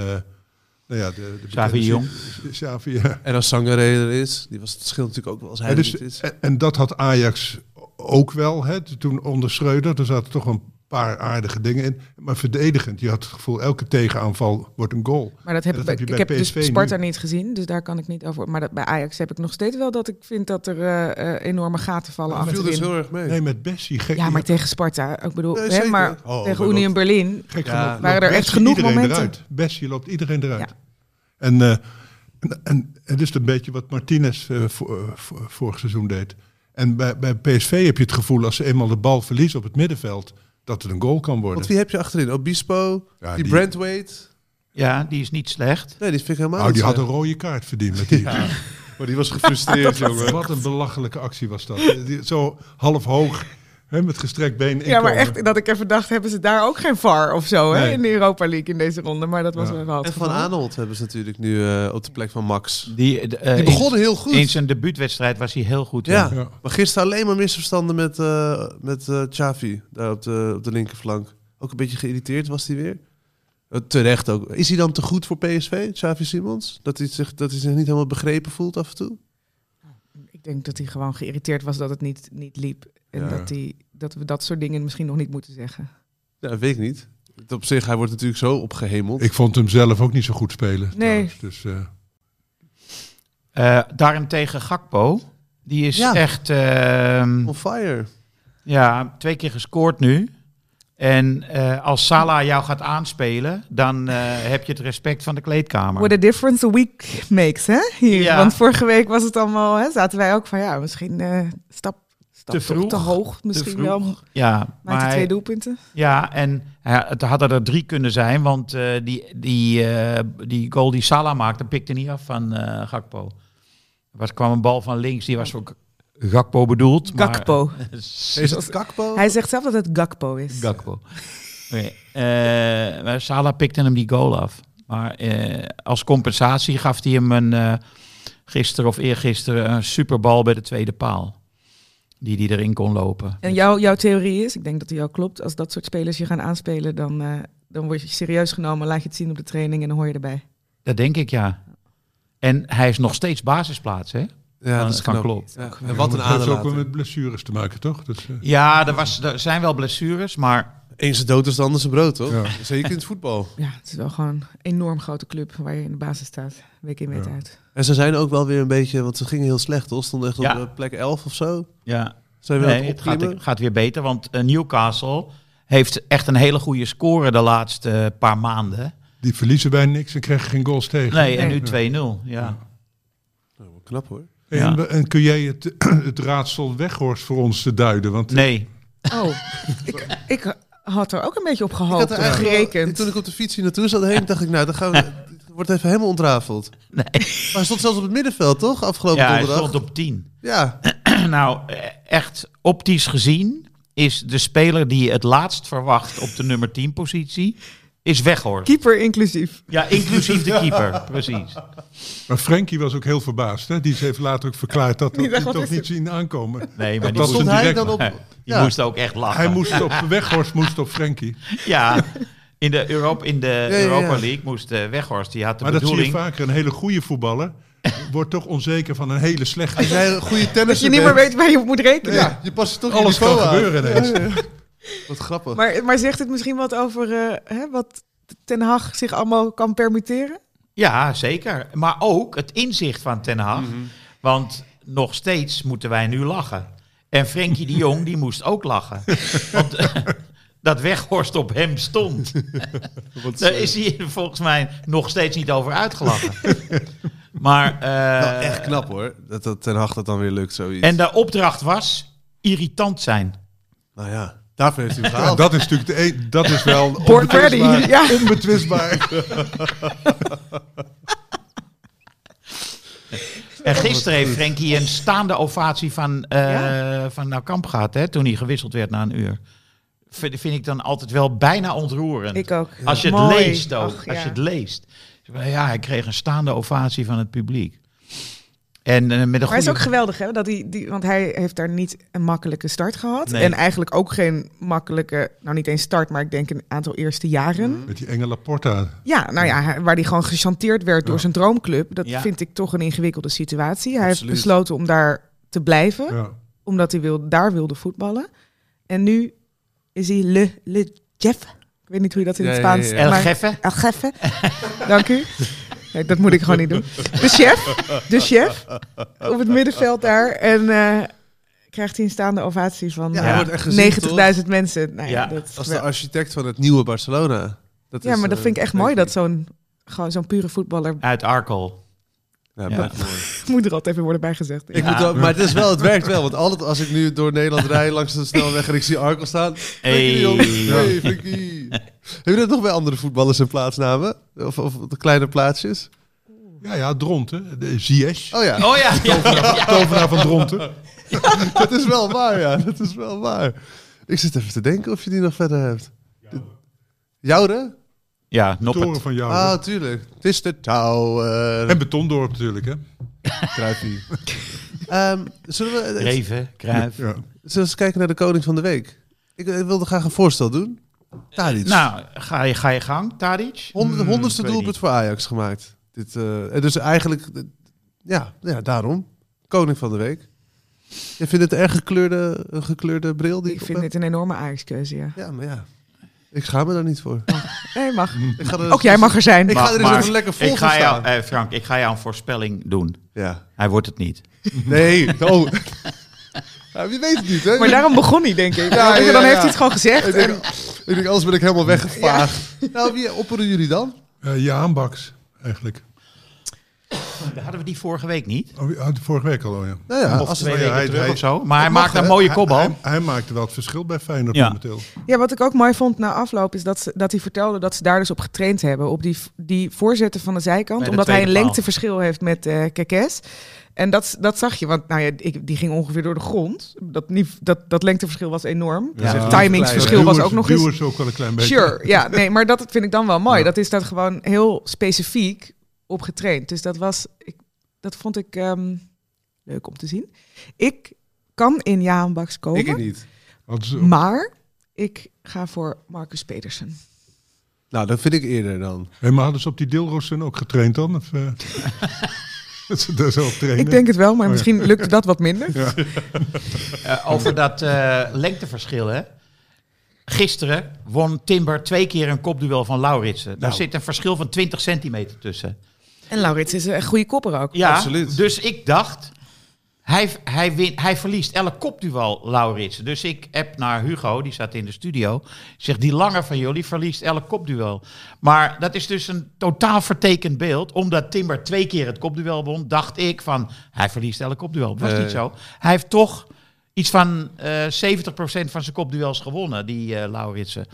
[SPEAKER 5] nou ja, de, de bekende-
[SPEAKER 4] Xavi Jong.
[SPEAKER 5] Xavi, ja.
[SPEAKER 3] En als Sangaré er is, die was het verschil natuurlijk ook wel als hij
[SPEAKER 5] Ja,
[SPEAKER 3] er
[SPEAKER 5] dus-
[SPEAKER 3] niet is.
[SPEAKER 5] en, en dat had Ajax ook wel. Hè, toen onder Schreuder, er zaten toch een paar aardige dingen in. Maar verdedigend, je had het gevoel, elke tegenaanval wordt een goal.
[SPEAKER 1] Maar dat heb
[SPEAKER 5] Ja,
[SPEAKER 1] ik, bij-
[SPEAKER 5] dat heb je
[SPEAKER 1] ik
[SPEAKER 5] bij
[SPEAKER 1] heb
[SPEAKER 5] PSV nu.
[SPEAKER 1] dus Sparta niet gezien, dus daar kan ik niet over. Maar dat, bij Ajax heb ik nog steeds wel dat ik vind dat er eh, eh, enorme gaten vallen
[SPEAKER 3] viel dus
[SPEAKER 1] achterin.
[SPEAKER 3] heel erg mee.
[SPEAKER 5] Nee, met Bessie. Gek,
[SPEAKER 1] Ja, maar tegen Sparta, ik bedoel,
[SPEAKER 3] Nee,
[SPEAKER 1] hè,
[SPEAKER 3] zeker.
[SPEAKER 1] maar
[SPEAKER 5] Oh,
[SPEAKER 1] tegen
[SPEAKER 5] maar
[SPEAKER 1] Unie
[SPEAKER 5] dat-
[SPEAKER 1] in Berlin.
[SPEAKER 5] Gek
[SPEAKER 3] Ja,
[SPEAKER 5] genoeg
[SPEAKER 3] waren
[SPEAKER 5] loopt
[SPEAKER 1] er echt
[SPEAKER 5] Bessie
[SPEAKER 1] genoeg
[SPEAKER 5] iedereen
[SPEAKER 1] momenten?
[SPEAKER 5] Eruit. Bessie loopt iedereen eruit.
[SPEAKER 1] Ja.
[SPEAKER 5] En, eh, en, en het is een beetje wat Martinez eh, vo- eh, vo- vorig seizoen deed. En bij, bij PSV heb je het gevoel, als ze eenmaal de bal verliezen op het middenveld, dat het een goal kan worden.
[SPEAKER 3] Want wie heb je achterin? Obispo,
[SPEAKER 5] Ja,
[SPEAKER 3] die,
[SPEAKER 5] die-
[SPEAKER 3] Brandweight.
[SPEAKER 4] Ja, die is niet slecht.
[SPEAKER 3] Nee, die vind ik helemaal
[SPEAKER 5] Nou, die
[SPEAKER 3] niet
[SPEAKER 1] eh,
[SPEAKER 5] had een
[SPEAKER 3] slecht.
[SPEAKER 5] rode kaart verdiend
[SPEAKER 1] *laughs*
[SPEAKER 5] met die.
[SPEAKER 3] Maar die was gefrustreerd, jongen.
[SPEAKER 5] *laughs* Wat een belachelijke actie was dat. Eh, die- Zo half hoog, hè, met gestrekt been
[SPEAKER 1] Ja, maar
[SPEAKER 5] inkomen.
[SPEAKER 1] echt dat ik even dacht, hebben ze daar ook geen VAR of zo hè,
[SPEAKER 5] Nee.
[SPEAKER 1] in de Europa League in deze ronde? Maar dat was
[SPEAKER 5] Ja.
[SPEAKER 1] wel het
[SPEAKER 3] En Van
[SPEAKER 1] geval.
[SPEAKER 3] Aanholt hebben ze natuurlijk nu eh, op de plek van Max.
[SPEAKER 4] Die, de, eh,
[SPEAKER 3] Die
[SPEAKER 4] in-
[SPEAKER 3] begonnen heel goed.
[SPEAKER 4] in zijn debuutwedstrijd was hij heel goed.
[SPEAKER 3] Ja,
[SPEAKER 5] Ja.
[SPEAKER 3] maar gisteren alleen maar misverstanden met, eh met eh Xavi, daar op de, op de linkerflank. Ook een beetje geïrriteerd was hij weer. Eh, terecht ook. Is hij dan te goed voor PSV, Xavi Simons? Dat hij, zich, dat hij zich niet helemaal begrepen voelt af en toe?
[SPEAKER 1] Ik denk dat hij gewoon geïrriteerd was dat het niet, niet liep. En
[SPEAKER 5] Ja.
[SPEAKER 1] dat, hij, dat we dat soort dingen misschien nog niet moeten zeggen.
[SPEAKER 3] Ja, weet ik niet. Het Op zich, hij wordt natuurlijk zo opgehemeld.
[SPEAKER 5] Ik vond hem zelf ook niet zo goed spelen.
[SPEAKER 1] Nee.
[SPEAKER 5] trouwens. Dus, eh,
[SPEAKER 4] Eh, daarentegen Gakpo. Die is
[SPEAKER 3] Ja.
[SPEAKER 4] echt ehm,
[SPEAKER 3] On fire.
[SPEAKER 4] ja, twee keer gescoord nu. En eh, als Salah jou gaat aanspelen, dan eh, heb je het respect van de kleedkamer.
[SPEAKER 1] What a difference a week makes, hè? Hier.
[SPEAKER 4] Ja.
[SPEAKER 1] Want vorige week was het allemaal, hè, zaten wij ook van ja, misschien eh, stap, stap
[SPEAKER 4] Te
[SPEAKER 1] toch
[SPEAKER 4] vroeg,
[SPEAKER 1] te hoog. Misschien
[SPEAKER 4] vroeg.
[SPEAKER 1] wel.
[SPEAKER 4] ja,
[SPEAKER 1] Maakt hij
[SPEAKER 4] maar,
[SPEAKER 1] twee doelpunten.
[SPEAKER 4] ja, en ja, het hadden er drie kunnen zijn, want eh, die, die, eh, die goal die Salah maakte, pikte niet af van eh, Gakpo. Er was, kwam een bal van links, die was voor Gakpo bedoeld. maar- *laughs*
[SPEAKER 1] Gakpo.
[SPEAKER 3] Is het Kakpo?
[SPEAKER 1] Hij zegt zelf dat het Gakpo is.
[SPEAKER 4] Gakpo. Oké, eh, maar Salah pikte hem die goal af. Maar eh, als compensatie gaf hij hem een, eh gisteren of eergisteren een superbal bij de tweede paal. Die hij erin kon lopen.
[SPEAKER 1] En jouw jouw theorie is, ik denk dat die al klopt, als dat soort spelers je gaan aanspelen, dan, eh, dan word je serieus genomen, laat je het zien op de training en dan hoor je erbij.
[SPEAKER 4] Dat denk ik ja. En hij is nog steeds basisplaats, hè?
[SPEAKER 3] Ja,
[SPEAKER 4] Ah, dat kan klopt.
[SPEAKER 3] Ja, En wat een
[SPEAKER 5] Het heeft ook wel
[SPEAKER 3] aanlaat.
[SPEAKER 5] met blessures te maken, toch? Dus, eh,
[SPEAKER 4] Ja, er, was, er zijn wel blessures, maar
[SPEAKER 3] Eens een dood is de ander zijn brood, toch?
[SPEAKER 5] Ja.
[SPEAKER 3] Zeker in het voetbal.
[SPEAKER 1] Ja, het is wel gewoon een enorm grote club waar je in de basis staat, week in week uit.
[SPEAKER 3] En ze zijn ook wel weer een beetje, want ze gingen heel slecht, toch? Stonden echt
[SPEAKER 4] Ja.
[SPEAKER 3] op eh, plek 11 of zo.
[SPEAKER 4] ja,
[SPEAKER 3] Zijn we aan
[SPEAKER 4] nee,
[SPEAKER 3] het
[SPEAKER 4] het gaat,
[SPEAKER 3] opklimmen?
[SPEAKER 4] gaat weer beter. Want eh, Newcastle heeft echt een hele goede score de laatste eh, paar maanden.
[SPEAKER 5] die verliezen wij niks en krijgen geen goals tegen.
[SPEAKER 4] Nee, en
[SPEAKER 1] Nee.
[SPEAKER 4] nu 2-0. Ja.
[SPEAKER 3] Nou, wel knap hoor.
[SPEAKER 5] En,
[SPEAKER 4] Ja.
[SPEAKER 5] we- en kun jij het, *clears throat* het raadsel weghorst voor ons te duiden? Want
[SPEAKER 4] Nee,
[SPEAKER 1] Oh, *laughs* ik, ik had er ook een beetje op
[SPEAKER 3] Ik
[SPEAKER 1] gehoopt
[SPEAKER 3] had er
[SPEAKER 1] of
[SPEAKER 3] eigenlijk wel-
[SPEAKER 1] gerekend.
[SPEAKER 3] eh, toen ik op de fiets hier naartoe zat heen, dacht ik, nou, dan gaan we, het wordt even helemaal ontrafeld.
[SPEAKER 4] Nee.
[SPEAKER 3] Maar hij stond zelfs op het middenveld, toch? Afgelopen
[SPEAKER 4] ja, hij
[SPEAKER 3] donderdag.
[SPEAKER 4] stond op 10.
[SPEAKER 3] Ja,
[SPEAKER 4] *clears throat* nou, eh, echt optisch gezien is de speler die je het laatst verwacht op de nummer 10 positie, is Weghorst.
[SPEAKER 1] Keeper inclusief.
[SPEAKER 4] Ja, inclusief de keeper, *laughs* precies.
[SPEAKER 5] Maar Frankie was ook heel verbaasd. Hè? Die heeft later ook verklaard dat
[SPEAKER 1] Die
[SPEAKER 5] we
[SPEAKER 1] dacht,
[SPEAKER 5] hem
[SPEAKER 1] wat
[SPEAKER 5] toch
[SPEAKER 1] is
[SPEAKER 5] niet zien aankomen.
[SPEAKER 4] Nee, maar die
[SPEAKER 5] Dat
[SPEAKER 4] moest,
[SPEAKER 3] stond
[SPEAKER 5] een
[SPEAKER 3] hij
[SPEAKER 5] direct-
[SPEAKER 3] dan op.
[SPEAKER 4] *laughs* je
[SPEAKER 3] Ja.
[SPEAKER 4] moest ook echt lachen.
[SPEAKER 5] Hij moest op Weghorst moest op Frankie.
[SPEAKER 4] Ja, in de, Europa, in de
[SPEAKER 3] ja, ja.
[SPEAKER 4] Europa League moest eh, Weghorst, die had de
[SPEAKER 5] Maar dat zie je
[SPEAKER 4] bedoeling...
[SPEAKER 5] vaker. Een hele goede voetballer
[SPEAKER 4] *laughs*
[SPEAKER 5] wordt toch onzeker van een hele
[SPEAKER 3] als
[SPEAKER 5] slechte.
[SPEAKER 3] jij een goede tennis
[SPEAKER 1] Dat je niet meer weet waar je op moet rekenen.
[SPEAKER 3] Ja, je past toch
[SPEAKER 5] Alles
[SPEAKER 3] je niveau
[SPEAKER 5] kan
[SPEAKER 3] aan.
[SPEAKER 5] gebeuren ineens.
[SPEAKER 3] Wat grappig.
[SPEAKER 1] Maar, maar zegt het misschien wat over eh, hè, wat Ten Hag zich allemaal kan permitteren?
[SPEAKER 4] Ja, zeker. Maar ook het inzicht van Ten Hag.
[SPEAKER 5] Mhm.
[SPEAKER 4] Want nog steeds moeten wij nu lachen. En Frenkie de Jong, die moest ook lachen.
[SPEAKER 5] *laughs*
[SPEAKER 4] Want eh, dat Weghorst op hem
[SPEAKER 5] *laughs*
[SPEAKER 4] stond. Daar is hij volgens mij nog steeds niet over uitgelachen.
[SPEAKER 5] *laughs*
[SPEAKER 4] Maar, eh,
[SPEAKER 5] Nou,
[SPEAKER 3] Wel echt knap hoor, dat, dat Ten Hag dat dan weer lukt, zoiets.
[SPEAKER 4] En de opdracht was irritant zijn.
[SPEAKER 3] Nou ja, daarvoor heeft hij hem
[SPEAKER 5] Ja,
[SPEAKER 3] gehaald.
[SPEAKER 5] dat is natuurlijk de een, dat is wel *laughs*
[SPEAKER 1] Born ready.
[SPEAKER 5] onbetwistbaar.
[SPEAKER 1] Ja.
[SPEAKER 5] onbetwistbaar.
[SPEAKER 4] En Eh, gisteren heeft Frenkie een staande ovatie van, eh van Nou Kamp gehad, hè, toen hij gewisseld werd na een uur. Vind, vind ik dan altijd wel bijna ontroerend.
[SPEAKER 1] Ik ook.
[SPEAKER 4] Als je het
[SPEAKER 1] Mooi.
[SPEAKER 4] leest ook.
[SPEAKER 1] Ach,
[SPEAKER 4] Als
[SPEAKER 1] ja.
[SPEAKER 4] je het leest. Ja, hij kreeg een staande ovatie van het publiek. En eh, met een
[SPEAKER 1] Maar het
[SPEAKER 4] goede...
[SPEAKER 1] is ook geweldig, hè? Dat hij, die, want hij heeft daar niet een makkelijke start gehad.
[SPEAKER 4] Nee.
[SPEAKER 1] En eigenlijk ook geen makkelijke, nou niet eens start, maar ik denk een aantal eerste jaren.
[SPEAKER 4] Mm.
[SPEAKER 5] Met die enge Laporta.
[SPEAKER 1] Ja, nou ja, hij- waar hij gewoon gechanteerd werd door
[SPEAKER 5] Ja.
[SPEAKER 1] zijn droomclub. Dat
[SPEAKER 4] Ja.
[SPEAKER 1] vind ik toch een ingewikkelde situatie. Hij
[SPEAKER 3] Absoluut.
[SPEAKER 1] heeft besloten om daar te blijven,
[SPEAKER 5] Ja.
[SPEAKER 1] omdat hij wil, daar wilde voetballen. En nu is hij Le, Le Jeff. Ik weet niet hoe je dat in het
[SPEAKER 3] Ja,
[SPEAKER 1] Spaans...
[SPEAKER 3] ja, ja.
[SPEAKER 4] El
[SPEAKER 1] maar-
[SPEAKER 4] Jefe.
[SPEAKER 1] El Jefe. *laughs* Dank u. Nee, dat moet ik gewoon niet doen. De chef. De chef. Op het middenveld daar. En eh, krijgt hij een staande ovatie van
[SPEAKER 3] Ja,
[SPEAKER 4] hij
[SPEAKER 1] eh,
[SPEAKER 4] wordt
[SPEAKER 3] echt gezien,
[SPEAKER 1] 90.000 mensen. Nou, ja,
[SPEAKER 4] Ja,
[SPEAKER 1] dat,
[SPEAKER 3] Als de architect van het nieuwe Barcelona. Dat
[SPEAKER 1] ja,
[SPEAKER 3] is,
[SPEAKER 1] maar dat
[SPEAKER 3] eh,
[SPEAKER 1] vind ik echt
[SPEAKER 3] denk
[SPEAKER 1] mooi dat zo'n gewoon zo'n pure voetballer
[SPEAKER 4] Uit Arkel.
[SPEAKER 3] Ja,
[SPEAKER 4] Ja.
[SPEAKER 3] blijft mooi.
[SPEAKER 1] moet er altijd weer worden bijgezegd.
[SPEAKER 3] *laughs* Ik moet wel- maar het, is wel, het werkt wel, want altijd als ik nu door Nederland rijd langs de snelweg en ik zie Arkel staan.
[SPEAKER 4] Hey.
[SPEAKER 3] Hey, Frankie. Heb je dat nog bij andere voetballers en plaatsnamen? Of, of de kleine plaatsjes?
[SPEAKER 5] Ja, ja, Dronten. De Ziyech.
[SPEAKER 3] Oh ja,
[SPEAKER 4] Oh ja, ja, ja, ja.
[SPEAKER 5] Tovenaar van Dronten.
[SPEAKER 3] dat is wel waar, ja. Dat is wel waar. Ik zit even te denken of je die nog verder hebt. Joure?
[SPEAKER 4] ja Noppert.
[SPEAKER 5] Toren van jou.
[SPEAKER 3] Ah, tuurlijk. Het is de *laughs* touwer.
[SPEAKER 5] en Betondorp natuurlijk, hè?
[SPEAKER 3] Kruipie. Ehm, zullen, we, zullen
[SPEAKER 4] Reven, Kruijf.
[SPEAKER 5] Ja.
[SPEAKER 3] we eens kijken naar de koning van de week? Ik, ik wilde graag een voorstel doen. Tadic.
[SPEAKER 4] Nou, ga je, ga je gang, Tadic?
[SPEAKER 3] Honderd,
[SPEAKER 4] Hmm,
[SPEAKER 3] honderdste
[SPEAKER 4] ik weet
[SPEAKER 3] doelpunt voor Ajax gemaakt. Dit, eh, en dus eigenlijk, eh, ja, ja, daarom. Koning van de week. Je vindt het een erg gekleurde, een gekleurde bril? Die
[SPEAKER 1] Ik
[SPEAKER 3] op
[SPEAKER 1] vind
[SPEAKER 3] heb?
[SPEAKER 1] dit een enorme Ajax-keuze, ja.
[SPEAKER 3] Ja, maar ja. Ik schaam me daar niet voor.
[SPEAKER 4] Hmm.
[SPEAKER 1] Nee, mag.
[SPEAKER 3] Ik ga er
[SPEAKER 1] Ook jij mag er zijn.
[SPEAKER 3] Ik
[SPEAKER 4] Maar-
[SPEAKER 3] ga er eens
[SPEAKER 4] maar
[SPEAKER 3] even lekker vol
[SPEAKER 4] ik ga
[SPEAKER 3] voor
[SPEAKER 4] jou,
[SPEAKER 3] staan.
[SPEAKER 4] eh, Frank, ik ga jou een voorspelling doen.
[SPEAKER 3] Ja.
[SPEAKER 4] Hij wordt het niet.
[SPEAKER 3] Nee. Oh.
[SPEAKER 1] *laughs*
[SPEAKER 3] Ja, je weet het niet, hè?
[SPEAKER 1] Maar daarom begon hij, denk ik.
[SPEAKER 3] Ja,
[SPEAKER 1] Want
[SPEAKER 3] ja,
[SPEAKER 1] dan heeft
[SPEAKER 3] ja.
[SPEAKER 1] hij het gewoon gezegd.
[SPEAKER 3] ik,
[SPEAKER 1] En,
[SPEAKER 3] denk, ik denk, anders ben ik helemaal weggevaagd. Nou, wie opperen jullie dan?
[SPEAKER 5] Eh, Jaan Baks, eigenlijk.
[SPEAKER 4] Hadden we die vorige week niet?
[SPEAKER 5] Oh, ja, vorige week al, oh ja.
[SPEAKER 3] Nou ja,
[SPEAKER 4] Of
[SPEAKER 3] als het-
[SPEAKER 4] twee
[SPEAKER 5] maar
[SPEAKER 4] weken
[SPEAKER 5] ja, hij-
[SPEAKER 4] terug
[SPEAKER 5] hij-
[SPEAKER 4] of zo. Maar hij
[SPEAKER 3] mag,
[SPEAKER 4] maakt een
[SPEAKER 3] hè?
[SPEAKER 4] mooie
[SPEAKER 5] Hij-
[SPEAKER 4] kopbal.
[SPEAKER 5] Hij, hij maakte wel het verschil bij Feyenoord
[SPEAKER 4] Ja.
[SPEAKER 5] momenteel.
[SPEAKER 1] ja, wat ik ook mooi vond na afloop is dat, ze, dat hij vertelde dat ze daar dus op getraind hebben. Op die, die voorzetten van de zijkant.
[SPEAKER 4] Bij de
[SPEAKER 1] omdat hij een
[SPEAKER 4] tweede paal.
[SPEAKER 1] lengteverschil heeft met eh Kekes. En dat, dat zag je, want nou ja, ik, die ging ongeveer door de grond. Dat, nief- dat, dat lengteverschil was enorm.
[SPEAKER 5] Ja.
[SPEAKER 1] het
[SPEAKER 5] Ja.
[SPEAKER 1] timingsverschil was
[SPEAKER 5] Duwers-
[SPEAKER 1] ook nog eens
[SPEAKER 5] Duwers ook wel een klein beetje.
[SPEAKER 1] Sure, ja, nee, maar dat vind ik dan wel mooi. Dat is dat gewoon heel specifiek op getraind. Dus dat was, ik, dat vond ik ehm, leuk om te zien. Ik kan in Jaan Baks komen,
[SPEAKER 3] Ik niet.
[SPEAKER 5] Want ze-
[SPEAKER 1] maar ik ga voor Marcus Pedersen.
[SPEAKER 3] Nou, dat vind ik eerder dan.
[SPEAKER 5] Hé, maar hadden ze op die deelrossen ook getraind dan? Of, *laughs* eh, dat ze daar zo op trainen?
[SPEAKER 1] Ik denk het wel, maar
[SPEAKER 5] ja.
[SPEAKER 1] misschien lukte dat wat minder.
[SPEAKER 4] Eh, over dat eh, lengteverschil, hè. Gisteren won Timber twee keer een kopduel van Lauritsen. Daar zit een verschil van 20 centimeter tussen.
[SPEAKER 1] En Laurits is een goede kopper ook.
[SPEAKER 4] Ja,
[SPEAKER 3] Absoluut.
[SPEAKER 4] dus ik dacht... Hij, hij, win, hij verliest elk kopduel, Lauritsen. Dus ik app naar Hugo, die zat in de studio. Zegt, die langer van jullie verliest elk kopduel. Maar dat is dus een totaal vertekend beeld. Omdat Timber twee keer het kopduel won, dacht ik van... Hij verliest elk kopduel. Dat was
[SPEAKER 3] Nee.
[SPEAKER 4] niet zo. Hij heeft toch iets van eh 70% van zijn kopduels gewonnen, die eh Lauritsen.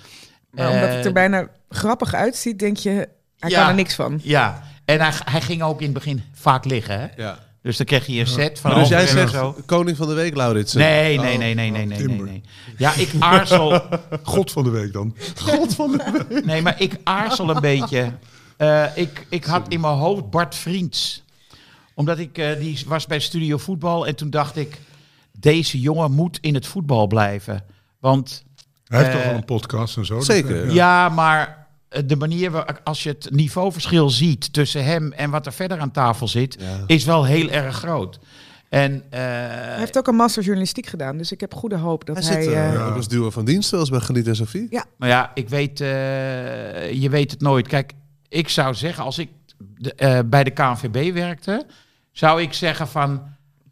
[SPEAKER 1] Maar Nou, omdat het
[SPEAKER 4] Eh,
[SPEAKER 1] er bijna grappig uitziet, denk je, hij
[SPEAKER 4] Ja.
[SPEAKER 1] kan er niks van.
[SPEAKER 4] Ja, en hij, hij ging ook in het begin vaak liggen, hè?
[SPEAKER 3] Ja.
[SPEAKER 4] Dus dan kreeg je een set van
[SPEAKER 3] Maar dus
[SPEAKER 4] een
[SPEAKER 3] jij
[SPEAKER 4] half uur en
[SPEAKER 3] zegt
[SPEAKER 4] zo.
[SPEAKER 3] koning van de week, eh. Lauritsen?
[SPEAKER 4] Nee, nee, nee, nee, nee, nee, nee,
[SPEAKER 5] eh, oh, Timber.
[SPEAKER 4] nee. Ja, ik aarzel.
[SPEAKER 5] God van de week dan.
[SPEAKER 4] Nee, maar ik aarzel een beetje. Eh, ik, ik had in mijn hoofd Bart Vriends. Omdat ik, eh, die was bij Studio Voetbal. En toen dacht ik, deze jongen moet in het voetbal blijven. Want
[SPEAKER 5] Hij heeft
[SPEAKER 4] Eh,
[SPEAKER 5] toch al een podcast en zo. dat- eh,
[SPEAKER 3] zeker.
[SPEAKER 5] ja.
[SPEAKER 4] Ja, maar eh, de manier waar, als je het niveauverschil ziet tussen hem en wat er verder aan tafel zit,
[SPEAKER 3] Ja.
[SPEAKER 4] is wel heel erg groot. En eh,
[SPEAKER 1] Hij heeft ook een master journalistiek gedaan, dus ik heb goede hoop dat
[SPEAKER 3] Hij
[SPEAKER 1] hij...
[SPEAKER 3] zit eh,
[SPEAKER 1] eh,
[SPEAKER 5] ja.
[SPEAKER 3] ook als duo van dienst, zoals bij Geniet en Sophie.
[SPEAKER 4] maar ja, ik weet, eh, je weet het nooit. Kijk, ik zou zeggen, als ik de- eh, bij de KNVB werkte, zou ik zeggen van,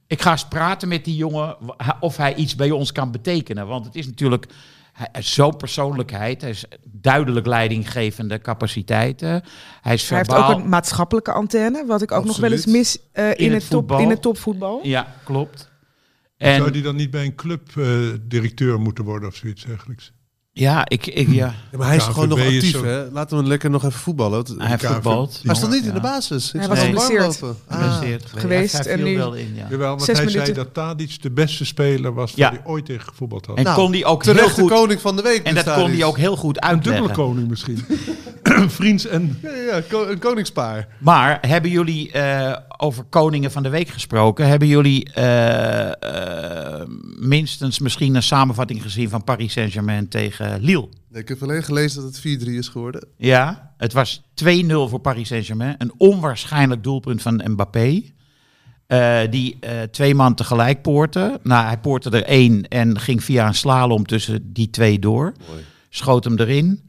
[SPEAKER 4] ik ga eens praten met die jongen wa- of hij iets bij ons kan betekenen. Want het is natuurlijk hij- zo'n persoonlijkheid, hij is duidelijk leidinggevende capaciteiten. Hij is
[SPEAKER 1] Hij heeft
[SPEAKER 4] verbaal.
[SPEAKER 1] ook een maatschappelijke antenne, wat ik ook nog wel eens mis eh, in,
[SPEAKER 4] In het
[SPEAKER 1] het top,
[SPEAKER 4] voetbal.
[SPEAKER 1] in het topvoetbal.
[SPEAKER 4] Ja, klopt.
[SPEAKER 5] Zou
[SPEAKER 4] En
[SPEAKER 5] die dan niet bij een club eh, directeur moeten worden of zoiets dergelijks?
[SPEAKER 4] ja, ik, ik ja,
[SPEAKER 3] Ja, maar hij is
[SPEAKER 5] KNVB
[SPEAKER 3] gewoon nog
[SPEAKER 5] is
[SPEAKER 3] actief,
[SPEAKER 5] zo-
[SPEAKER 3] hè? Laten we hem lekker nog even voetballen. want-
[SPEAKER 4] hij heeft
[SPEAKER 5] KNVB.
[SPEAKER 4] voetbald.
[SPEAKER 3] hij stond niet in de
[SPEAKER 4] Ja.
[SPEAKER 3] basis. Ik
[SPEAKER 1] Hij
[SPEAKER 3] zag
[SPEAKER 1] was
[SPEAKER 3] hem warm
[SPEAKER 1] geblesseerd.
[SPEAKER 3] lopen. Ah.
[SPEAKER 4] Geblesseerd
[SPEAKER 1] Geweest
[SPEAKER 4] Hij
[SPEAKER 1] en
[SPEAKER 4] viel
[SPEAKER 1] nu-
[SPEAKER 4] wel in, ja.
[SPEAKER 5] Jawel, want
[SPEAKER 1] Zes
[SPEAKER 5] hij zei
[SPEAKER 1] minuten.
[SPEAKER 5] dat Tadic de beste speler was die
[SPEAKER 4] Ja.
[SPEAKER 5] hij ooit tegen gevoetbald had.
[SPEAKER 4] En
[SPEAKER 3] Nou,
[SPEAKER 4] kon die ook heel
[SPEAKER 3] Terecht de
[SPEAKER 4] goed.
[SPEAKER 3] koning van de week.
[SPEAKER 4] en dat
[SPEAKER 3] bestaat
[SPEAKER 4] kon die
[SPEAKER 3] niet.
[SPEAKER 4] ook heel goed
[SPEAKER 5] een dubbele
[SPEAKER 4] uitleggen.
[SPEAKER 5] koning misschien. *laughs* Vriends en...
[SPEAKER 3] Ja, ja, ko- een koningspaar.
[SPEAKER 4] Maar hebben jullie eh, over koningen van de week gesproken? Hebben jullie eh, eh, minstens misschien een samenvatting gezien van Paris Saint-Germain tegen Lille?
[SPEAKER 3] Nee, ik heb alleen gelezen dat het 4-3 is geworden.
[SPEAKER 4] Ja, het was 2-0 voor Paris Saint-Germain. Een onwaarschijnlijk doelpunt van Mbappé. eh, die eh, twee man tegelijk poorten. Nou, hij poortte er één en ging via een slalom tussen die twee door.
[SPEAKER 3] Mooi.
[SPEAKER 4] Schoot hem erin.